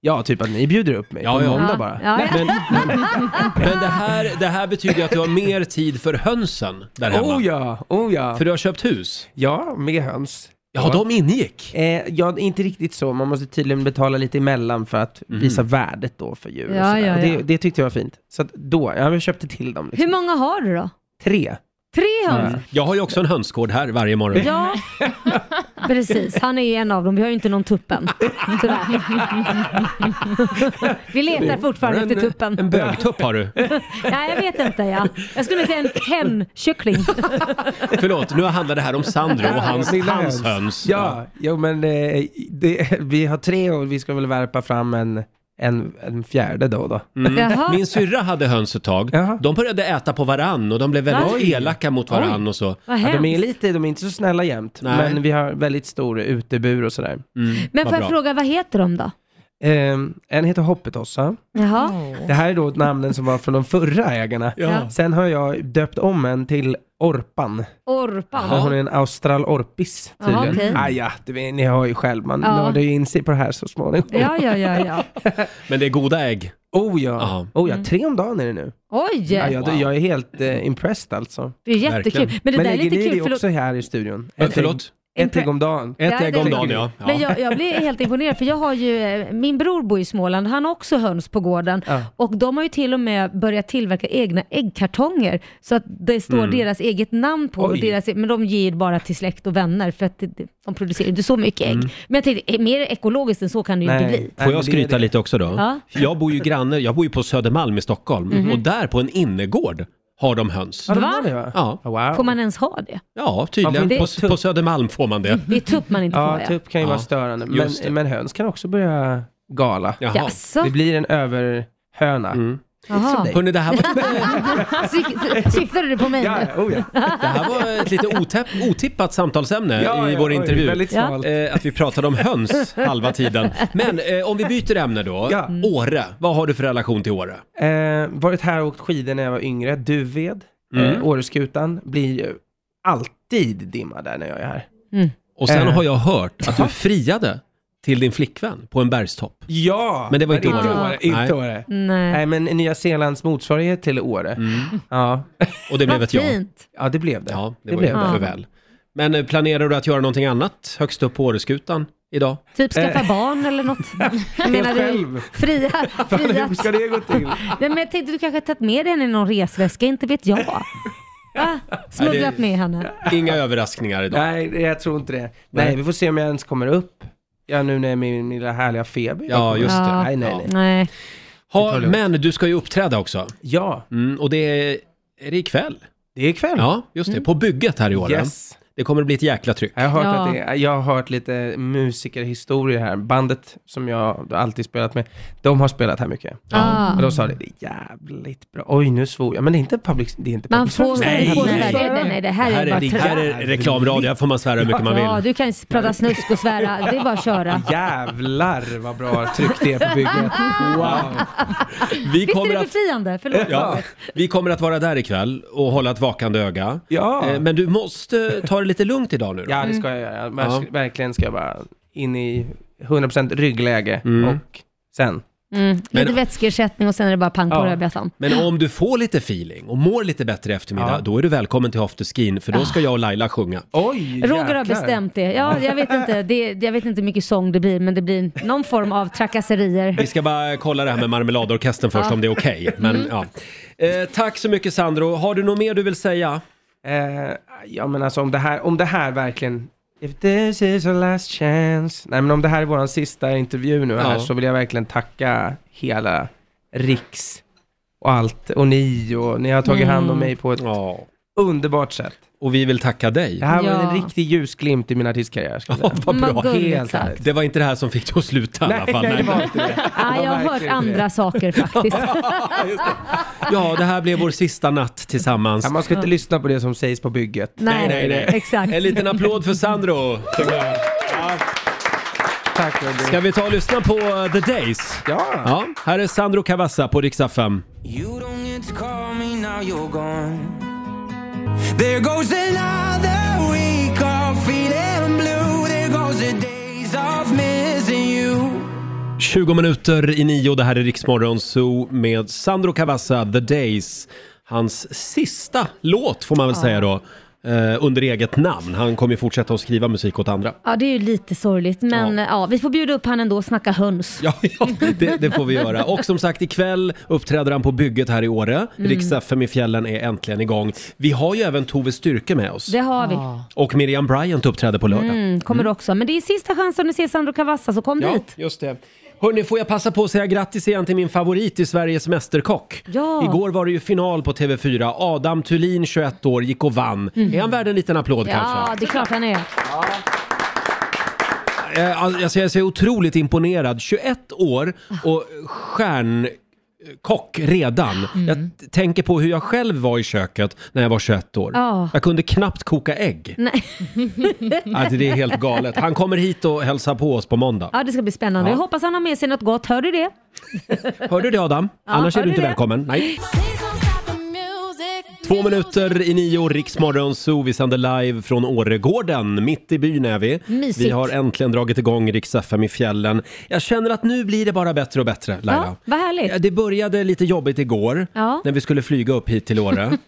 Ja, typ att ni bjuder upp mig Ja, på ja. Ja. måndag Mm. bara. Ja, ja. Men, men det, här, det här betyder ju att du har mer tid för hönsen där hemma. Oh ja, oh ja. För du har köpt hus? Ja, med höns. Ja, de ingick? Eh, ja, inte riktigt så. Man måste tydligen betala lite emellan för att Mhm. visa värdet då för djur. Ja, och sådär. ja, Och det, ja. det tyckte jag var fint. Så att då, ja, jag köpte till dem. Liksom. Hur många har du då? Tre. Tre höns? Mm. Jag har ju också en hönsgård här varje morgon. Ja, precis. Han är ju en av dem. Vi har ju inte någon tuppen. Tyvärr. Vi letar fortfarande Har du efter eh, en- tuppen. En bögtupp har du. Nej, jag vet inte. Ja. Jag skulle säga en hänkyckling. Förlåt, nu handlar det här om Sandro och hans, Lilla hans höns. Ja, jo, men eh, det, vi har tre och vi ska väl värpa fram en, en, en fjärde då och då. Mm. Min syrra hade höns ett tag. De började äta på varann och de blev väldigt Oj. elaka mot varann Oj. och så. Vad ja, de är hemskt. lite, de är inte så snälla jämt. Nej. Men vi har väldigt stor utebur och sådär. Men får jag fråga, vad heter de då? Ehm, en heter Hoppetossa. Jaha. Det här är då namnen som var från de förra ägarna. Ja. Sen har jag döpt om en till Orpan. Orpan. Men Hon är en australorpis Jaha, okej. tydligen. Ah, ja, det vet, ni hör ju själv, man Ja. nördar ju in sig på det här så småningom. Ja, ja, ja, ja. Men det är goda ägg. Oh ja, oh, Mm. ja. tre om dagen är det nu. Ah, Oj! Ja, jag, jag är helt eh, impressed alltså. Det är jättekul. Men det där är lägger lite ni kul, det också förlåt. här i studion? Eh, förlåt? Ett ägg om dagen. Ja, det tycker du. Men jag, jag blir helt imponerad för jag har ju, eh, min bror bor i Småland, han har också höns på gården Ja. och de har ju till och med börjat tillverka egna äggkartonger så att det står Mm. deras eget namn på, och Oj. deras, men de ger bara till släkt och vänner för att det- det- de producerar inte så mycket ägg. Men jag tänkte, eh, mer ekologiskt än så kan det ju inte bli. Får jag skryta lite också då? Ja. Jag bor ju granne, jag bor ju på Södermalm i Stockholm Mhm. och där på en innergård har de höns. Ja, de har det, ja. va? Wow. Får man ens ha det? Ja, tydligen. Man får- På, på Södermalm får man Mm. det. Det är tupp man inte Ja, får tupp kan ju vara störande. Men, Just men höns kan också börja gala. Jaha. Jaså? Det blir en överhöna. Mm. Jaha. Hörrni, det här var Syf- Syftade du på mig Ja, nu? oh ja. Det här var ett lite otäpp, otippat samtalsämne Ja, i ja, vår oj, intervju. väldigt smalt. Eh, att vi pratade om höns halva tiden. Men eh, om vi byter ämne då. Mm. Åre, vad har du för relation till Åre? Eh, varit här och åkt skidor när jag var yngre. Duved, Mm. eh, Åreskutan, blir ju alltid dimma där när jag är här. Och sen Eh. har jag hört att du friade till din flickvän på en bergstopp. Ja! Men det var inte inte Åre. Åre. Inte Nej. Mm. Åre. Nej. men Nya Zeelands motsvarighet till Åre. Ja. Och det blev ett ja. Fint. Ja, det blev det. Ja, det, Det var blev ju det. för väl. Men eh, planerar du att göra någonting annat högst upp på Åreskutan idag? Typ skaffa Eh. barn eller något? Jag menar själv. du, fria, fria. Hur ska det gå till? Nej, men jag tänkte du kanske har tagit med henne i någon resväska, inte vet jag. Va? Smugglat med henne. Inga överraskningar idag. Nej, jag tror inte det. Nej, Nej. vi får se om jag ens kommer upp. Ja, nu när min lilla härliga feber. Ja, just det. Nej, nej, Ja. nej. Nej. Ha, men du ska ju uppträda också. Ja. Mm, och det är, är det ikväll? Det är ikväll. Ja, just det. På bygget här i år. Yes. Det kommer att bli ett jäkla tryck. Jag har, hört Ja. att det, är- jag har hört lite musikerhistorier här. Bandet som jag alltid spelat med, de har spelat här mycket. Ah. Och de sa det, det är jävligt bra. Oj, nu svor jag. Men det är inte public... Det är inte Man public får service. nej, nej, nej, nej, det här är bara det här trä- är reklamradio, här får man svära hur mycket man Ja, vill. du kan prata snusk och svära. Det är bara att köra. Jävlar vad bra tryck det är på bygget. Wow. Vi Visst är kommer det att, befriande? Förlåt. ja, vi kommer att vara där ikväll och hålla ett vakande öga. Eh, Men du måste ta det lite lugnt idag nu då. Ja, det ska jag göra. Verk- Verkligen ska jag bara in i 100% ryggläge och sen. Mm. Lite Men- vätskeersättning och sen är det bara pang på Ja. rödbetan. Men om du får lite feeling och mår lite bättre i eftermiddag, då är du välkommen till afterskin för då ska jag och Laila sjunga. Oj, Roger har bestämt det. Ja, jag, vet inte, det, det- jag vet inte hur mycket sång det blir, men det blir någon form av trakasserier. Vi ska bara kolla det här med marmeladorkestern först, Ja. Mm. om det är okej. Men, ja. eh, tack så mycket Sandro. Har du något mer du vill säga? Eh, ja men alltså om det här, om det här verkligen... If this is our last chance. Nej men om det här är våran sista intervju nu här Ja. så vill jag verkligen tacka hela Riks och allt och ni och ni har tagit hand om Mm. mig på ett underbart sätt. Och vi vill tacka dig. Det här var Ja. en riktig ljusglimt i min artistkarriär. skulle jag säga. Vad bra. Helt liksom. ärligt. Det var inte det här som fick dig att sluta i alla fall. Mm. nej, det var inte det. Ah, jag har hört verkligen andra det. saker faktiskt. Ja, det här blev vår sista natt tillsammans. Ja, man ska inte Ja. lyssna på det som sägs på bygget. Nej, exakt. En liten applåd för Sandro. Tack Robin. Ska vi ta och lyssna på eh, The Days? Ja. ja här är Sandro Cavazza på Riksa 5. You don't get to call me now you're gone. There goes another week of feeling blue. There goes the days of missing you. 20 minuter i nio, det här är Riksmorgon Zoo med Sandro Cavazza, The Days. Hans sista låt får man väl Ja. säga då, eh, under eget namn. Han kommer ju fortsätta att skriva musik åt andra. Ja, det är ju lite sorgligt, men ja. vi får bjuda upp han ändå och snacka höns. Ja, ja det, det får vi göra. Och som sagt, ikväll uppträder han på bygget här i Åre. Mm. Rix FM i fjällen är äntligen igång. Vi har ju även Tove Styrke med oss. Det har vi. Och Miriam Bryant uppträder på lördag. Mm, kommer du också. Men det är sista chansen att se Sandro Cavazza, så kom Ja, dit. just det. Hörni, får jag passa på att säga grattis igen till min favorit i Sveriges Mästerkock. Ja. Igår var det ju final på TV4. Adam Thulin, 21 år, gick och vann. Är han värd en liten applåd Mm. Ja, kanske? det är klart han är. Eh, Alltså, jag är så otroligt imponerad. 21 år och stjärnkock redan. Mm. Jag t- tänker på hur jag själv var i köket när jag var 21 år. Ja. Jag kunde knappt koka ägg. Nej. Alltså, det är helt galet. Han kommer hit och hälsar på oss på måndag. Ja, det ska bli spännande. Ja. Jag hoppas han har med sig något gott. Hör du det? Hör du det Adam? Ja, Annars är hör du du inte det? välkommen. Nej. Två minuter i nio, Riksmorgon Zoo. Vi sänder live från Åregården. Mitt i byn är vi. Mysigt. Vi har äntligen dragit igång Rix FM i fjällen. Jag känner att nu blir det bara bättre och bättre, Laila. Ja, vad härligt. Det började lite jobbigt igår Ja. när vi skulle flyga upp hit till Åre.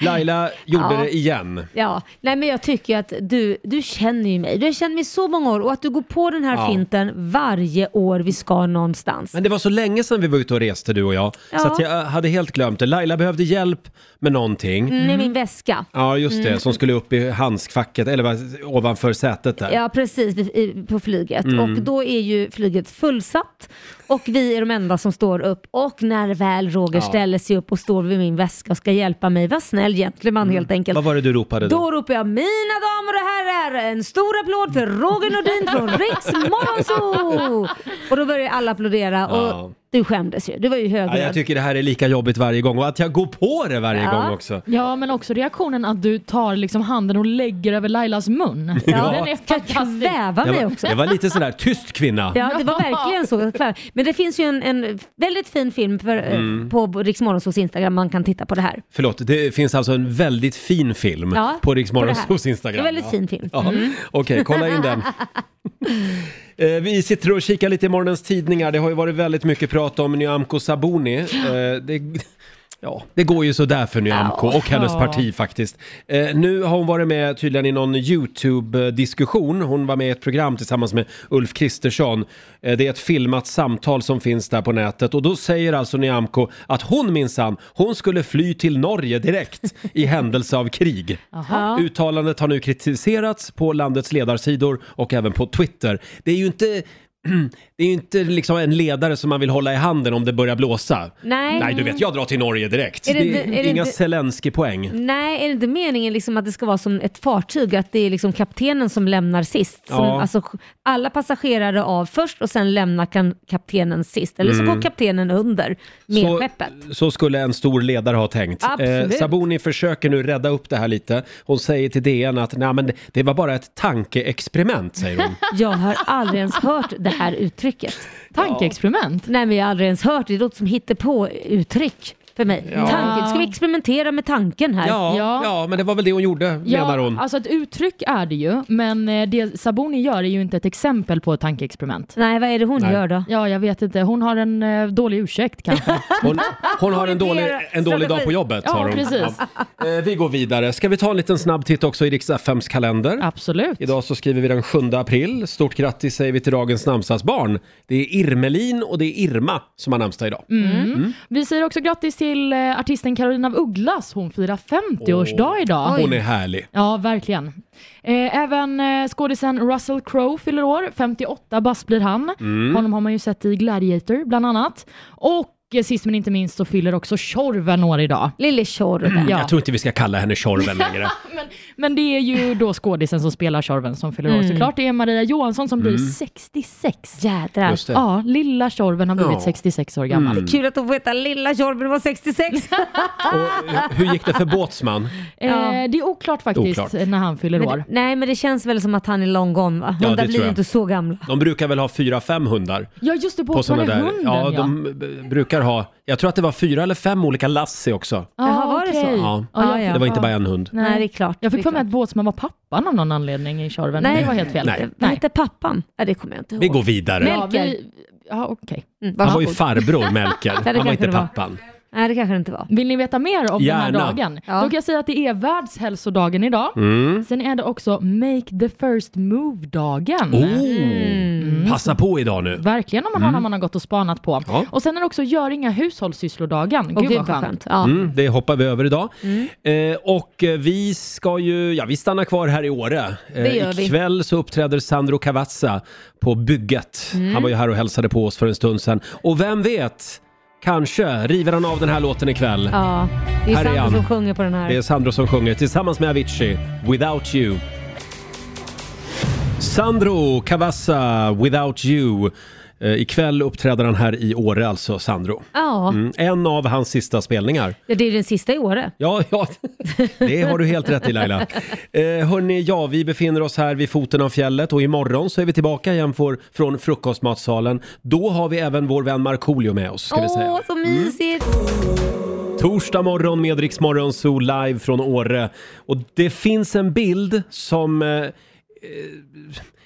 Laila gjorde Ja. det igen. Ja, nej men jag tycker att du, du känner ju mig. Du har känt mig i så många år och att du går på den här Ja. finten varje år vi ska någonstans. Men det var så länge sedan vi var ute och reste du och jag, så Ja. att jag hade helt glömt det. Laila behövde hjälp med någonting. Mm. I min väska. Ja, just det. Mm. Som skulle upp i handskfacket, eller vad, ovanför sätet där. Ja, precis. i- i- På flyget. Mm. Och då är ju flyget fullsatt och vi är de enda som står upp. Och när väl Roger Ja. ställer sig upp och står vid min väska och ska hjälpa mig, var snäll gentleman helt enkelt. Mm. Vad var det du ropade då? Då ropar jag mina damer och herrar, en stor applåd för Roger Nordin från Riks Morgonzoo! Och då börjar alla applådera och Ja. du skämdes ju. Du var ju Ja, högröd. jag tycker det här är lika jobbigt varje gång och att jag går på det varje ja. gång också. Ja, men också reaktionen att du tar liksom handen och lägger över Lailas mun. Ja. Den är fantastisk. Kväva Jag mig var, också. jag var lite sådär, tyst kvinna. Ja, det var verkligen så. Men det finns ju en, en väldigt fin film för, eh, Mm. på Rix Morgonzoos Instagram man kan titta på det här. Förlåt, det finns alltså en väldigt fin film Ja, på Rix på det här. Morgonzoos Instagram. Det är väldigt Ja. fin film. Ja. Mm. Okej, kolla in den. Eh, Vi sitter och kikar lite i morgonens tidningar. Det har ju varit väldigt mycket prat om Nyamko Sabuni. Eh, Det, ja, det går ju sådär för Nyamko och hennes Ja. parti faktiskt. Eh, Nu har hon varit med tydligen i någon YouTube-diskussion. Hon var med i ett program tillsammans med Ulf Kristersson. Eh, Det är ett filmat samtal som finns där på nätet och då säger alltså Nyamko att hon minsann, hon skulle fly till Norge direkt i händelse av krig. Jaha. Uttalandet har nu kritiserats på landets ledarsidor och även på Twitter. Det är ju inte det är ju inte liksom en ledare som man vill hålla i handen om det börjar blåsa. Nej. du vet, jag drar till Norge direkt. Är det Det är inte- är det inga inte- Zelensky-poäng. Nej, är det inte meningen liksom att det ska vara som ett fartyg, att det är liksom kaptenen som lämnar sist? Som, Ja. alltså, alla passagerare av först och sen lämnar kan kaptenen sist. Eller så Mm. går kaptenen under med Så- skeppet. Så skulle en stor ledare ha tänkt. Absolut. Saboni försöker nu rädda upp det här lite. Hon säger till DN att Nej, men det var bara ett tankeexperiment, säger hon. Jag har aldrig ens hört det här uttrycket. Tankeexperiment? Nej, men jag har aldrig ens hört det. Det låter som hittepå-uttryck för mig. Ja. Tanke. Ska vi experimentera med tanken här? Ja, ja. men det var väl det hon gjorde, menar hon. alltså ett uttryck är det ju, men eh, det Saboni gör är ju inte ett exempel på ett tankeexperiment. Nej, vad är det hon Nej. gör då? Ja, jag vet inte. Hon har en eh, dålig ursäkt kanske. Hon, hon har en dålig, en dålig dag på jobbet, Ja, har hon. precis. Ja. Eh, Vi går vidare. Ska vi ta en liten snabb titt också i Rix FMs kalender? Absolut. Idag så skriver vi den 7 april. Stort grattis säger vi till dagens namnsdagsbarn. Det är Irmelin och det är Irma som har namnsdag idag. Mm. Vi säger också grattis till eh, artisten Karolina af Ugglas. Hon firar 50-årsdag idag. Hon är härlig. Ja, verkligen. Eh, även eh, skådisen Russell Crowe fyller år. 58 bast blir han. Mm. Honom har man ju sett i Gladiator bland annat. Och eh, sist men inte minst så fyller också Tjorven år idag. Lille Tjorven. Mm, Jag tror inte vi ska kalla henne Tjorven längre. Men det är ju då skådisen som spelar Tjorven som fyller år Mm. såklart. Det är Maria Johansson som blir Mm. 66. Jädrar. Just det. Ja, Ah. lilla Tjorven har blivit Ja. 66 år gammal. Mm. Det är Kul att hon får heta Lilla Tjorven var 66. Hur gick det för Båtsman? Eh, det är oklart faktiskt Oklart. när han fyller Men, år. det- nej, men det känns väl som att han är long gone va? Ja, Hundar det blir tror jag. ju inte så gamla. De brukar väl ha fyra, fem hundar? Ja just det, På Båtsman såna är där. hunden ja, de b- brukar ha, jag tror att det var fyra eller fem olika Lassie också. Jaha, var det så? okej. Ja. Ja, jag Det var fick- inte bara en hund. Nej, det är klart. Jag Det är fick för mig att Båtsman var pappan av någon anledning i Tjorven. Liksom. Nej. Nej. Det var helt fel. Nej. Vad hette pappan? Ja, det kommer jag inte ihåg. Mm, Vi går vidare. Ja, Melker. vi, ja, okej. Han var ju farbror Melker, Ja, det han var kanske inte det var. pappan. Nej, det kanske det inte var. Vill ni veta mer om den Gärna. här dagen? Ja. Då kan jag säga att det är världshälsodagen idag. Mm. Sen är det också Make the first move-dagen. Oh, Passa på idag nu. Verkligen om man har Mm. någon man har gått och spanat på. Ja. Och sen är det också Gör inga hushållssysslodagen. Gud, vad skönt. Mm, det hoppar vi över idag. Mm. Eh, och eh, vi ska ju, ja vi stannar kvar här i Åre. Eh, Det gör vi. ikväll så uppträder Sandro Cavazza på bygget. Mm. Han var ju här och hälsade på oss för en stund sedan. Och vem vet, kanske river han av den här låten ikväll. Ja, det Här är är Sandro han. som sjunger på den här. Det är Sandro som sjunger tillsammans med Avicii, Without You. Sandro Cavazza, Without You. Eh, ikväll uppträder han här i Åre alltså, Sandro. Ja. Mm, en av hans sista spelningar. Ja, det är den sista i Åre. Ja, ja, det har du helt rätt i Laila. Eh, hörni, ja, vi befinner oss här vid foten av fjället och imorgon så är vi tillbaka igen för, från Mm. frukostmatsalen. Då har vi även vår vän Markoolio med oss, ska vi säga. Åh, så mysigt! Torsdag morgon med Rix Morgon Zoo live från Åre. Och det finns en bild som, eh, eh,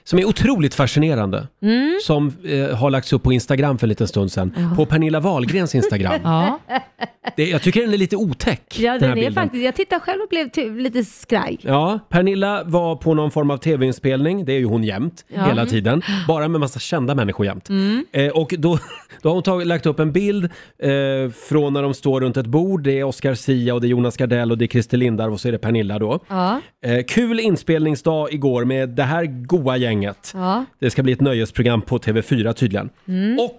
som är otroligt fascinerande. Mm. Som eh, har lagts upp på Instagram för en liten stund sedan. På Pernilla Wahlgrens Instagram. Ja. det, jag tycker den är lite otäck. Ja, den, den här är bilden. faktiskt, jag tittar själv och blev ty- lite skraj. Ja, Pernilla var på någon form av tv-inspelning, det är ju hon jämt, Ja. hela tiden. Bara med massa kända människor jämt. Mm. Eh, och då, då har hon tagit, lagt upp en bild eh, från när de står runt ett bord. Det är Oscar Sia och det är Jonas Gardell och det är Christer Lindarw och så är det Pernilla då. Ja. Eh, kul inspelningsdag igår med det här goa gänget. Ja. Det ska bli ett nöjesprogram på TV4 tydligen. Mm. Och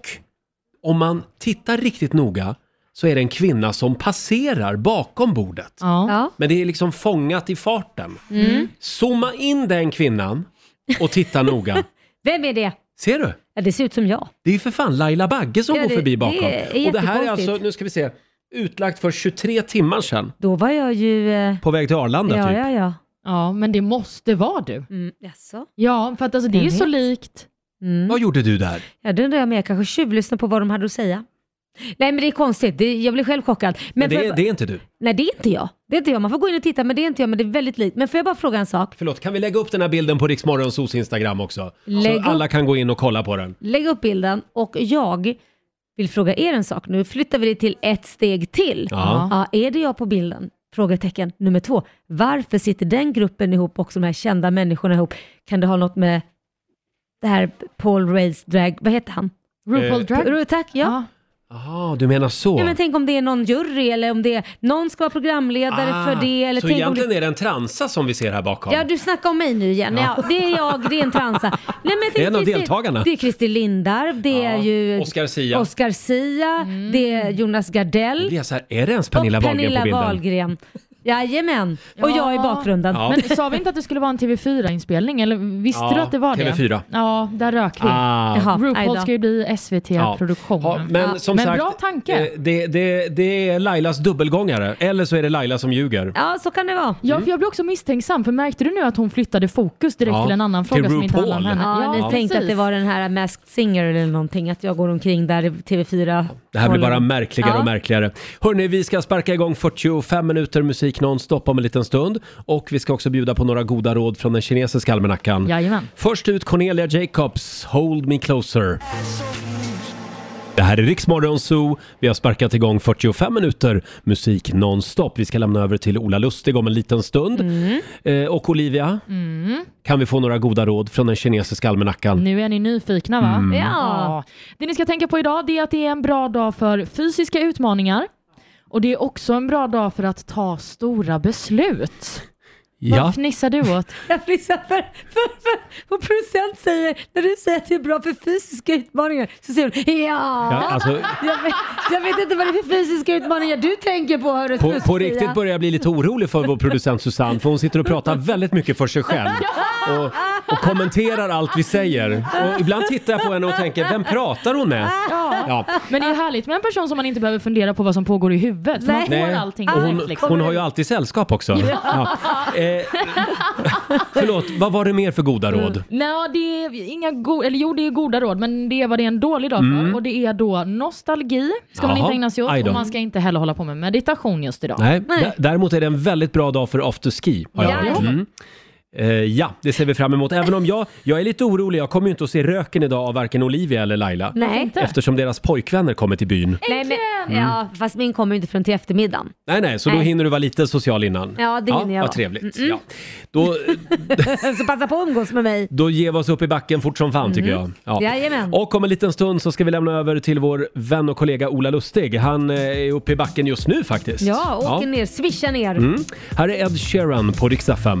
om man tittar riktigt noga så är det en kvinna som passerar bakom bordet. Ja. Men det är liksom fångat i farten. Mm. Zooma in den kvinnan och titta noga. Vem är det? Ser du? Ja, det ser ut som jag. Det är ju för fan Laila Bagge som Ja, går det- förbi det bakom. är och det här är jättekonstigt. alltså, nu ska vi se, utlagt för 23 timmar sedan. Då var jag ju... Eh... På väg till Arlanda typ. ja. Ja, men det måste vara du. Mm, jaså? Ja, för att alltså, det är Jag ju så vet. likt. Mm. Vad gjorde du där? Ja, det undrar jag med. Jag kanske tjuvlyssnar på vad de hade att säga. Nej, men det är konstigt. Det, jag blir själv chockad. Men får det, jag, det är inte du. Nej, det är inte jag. Det är inte jag. Man får gå in och titta, men det är inte jag. Men det är väldigt likt. Men får jag bara fråga en sak? Förlåt, kan vi lägga upp den här bilden på Riksmorgonsos Instagram också? Lägg upp. så alla kan gå in och kolla på den. Lägg upp bilden och jag vill fråga er en sak. Nu flyttar vi det till ett steg till. Ja. är det jag på bilden? Frågetecken nummer två. Varför sitter den gruppen ihop och de här kända människorna ihop? Kan det ha något med det här Paul Rays drag, vad heter han? RuPaul Eh, Drag- Ru- Tack, ja. Jaha, du menar så? ja men tänk om det är någon jury eller om det är, någon ska vara programledare Ah, för det. Eller så tänk om det... egentligen är det en transa som vi ser här bakom? Ja, du snackar om mig nu igen. Ja. Ja. det är jag, det är en transa. Nej, men jag Det är en av tänkte- deltagarna. Det är Christer Lindarw, det är ju Oscar Sia. Oscar Sia, det är Jonas Gardell Då blir jag så här, är det ens Pernilla, och Wahlgren på Pernilla bilden? Wahlgren. Jajamän, och jag i bakgrunden. Ja. Men sa vi inte att det skulle vara en TV4-inspelning? Eller visste Ja, du att det var TV4. det? Ja, där rök vi. Ah. Jaha, aj RuPaul då. ska ju bli SVT-produktion. Ja, men som men sagt, bra tanke. eh, Det, det, det är Lailas dubbelgångare, eller så är det Laila som ljuger. Ja, så kan det vara. Ja, för jag blev också misstänksam, för märkte du nu att hon flyttade fokus direkt mm. Ja, till en annan till fråga som inte handlar om RuPaul. henne? Ja, ni tänkte att det var den här Masked Singer eller någonting, att jag går omkring där i TV4. Det här blir bara märkligare Ja. och märkligare. Hörni, vi ska sparka igång 45 minuter musik nonstop om en liten stund. Och vi ska också bjuda på några goda råd från den kinesiska almanackan. Jajamän. Först ut Cornelia Jacobs, Hold Me Closer. Det här är Riksmorgon Zoo. Vi har sparkat igång 45 minuter musik nonstop. Vi ska lämna över till Ola Lustig om en liten stund. Eh, och Olivia, Mm. kan vi få några goda råd från den kinesiska almanackan? Nu är ni nyfikna va? Mm. Ja. Det ni ska tänka på idag det är att det är en bra dag för fysiska utmaningar och det är också en bra dag för att ta stora beslut. Ja. Vad fnissar du åt? Jag fnissar för, för, för vår producent säger, när du säger att det är bra för fysiska utmaningar, så säger hon ja. Ja, alltså- jag, vet, jag vet inte vad det är för fysiska utmaningar du tänker på hörru På, på Sofia. riktigt börjar jag bli lite orolig för vår producent Susanne för hon sitter och pratar väldigt mycket för sig själv och, och kommenterar allt vi säger. Och ibland tittar jag på henne och tänker, vem pratar hon med? Ja. Men det är härligt med en person som man inte behöver fundera på vad som pågår i huvudet. För man får allting Och hon, direkt, liksom. hon har ju alltid sällskap också. Ja. Eh, förlåt, vad var det mer för goda Mm. råd? Nej, det är inga go- eller jo det är goda råd men det är vad det är en dålig dag för Mm. och det är då nostalgi ska man Jaha, inte ägna sig aj åt då. och man ska inte heller hålla på med meditation just idag. Nej, d- däremot är det en väldigt bra dag för afterski. Har jag Ja. hört. Mm. Eh, ja, det ser vi fram emot. Även om jag, jag är lite orolig, jag kommer ju inte att se röken idag av varken Olivia eller Laila. Nej. Inte. Eftersom deras pojkvänner kommer till byn. Nej, men, ja, Mm. fast min kommer ju inte förrän till eftermiddagen. Nej, nej, så då Nej. hinner du vara lite social innan. Ja, det hinner jag Vad vara. trevligt. Mm-mm. Ja. Då, eh, Äh, så passa på att umgås med mig. då ger vi oss upp i backen fort som fan tycker jag. Mhm. Jajamän. Och om en liten stund så ska vi lämna över till vår vän och kollega Ola Lustig. Han eh, är uppe i backen just nu faktiskt. Ja, åker ner, swisha ner. Mm. Här är Ed Sheeran på Rix FM.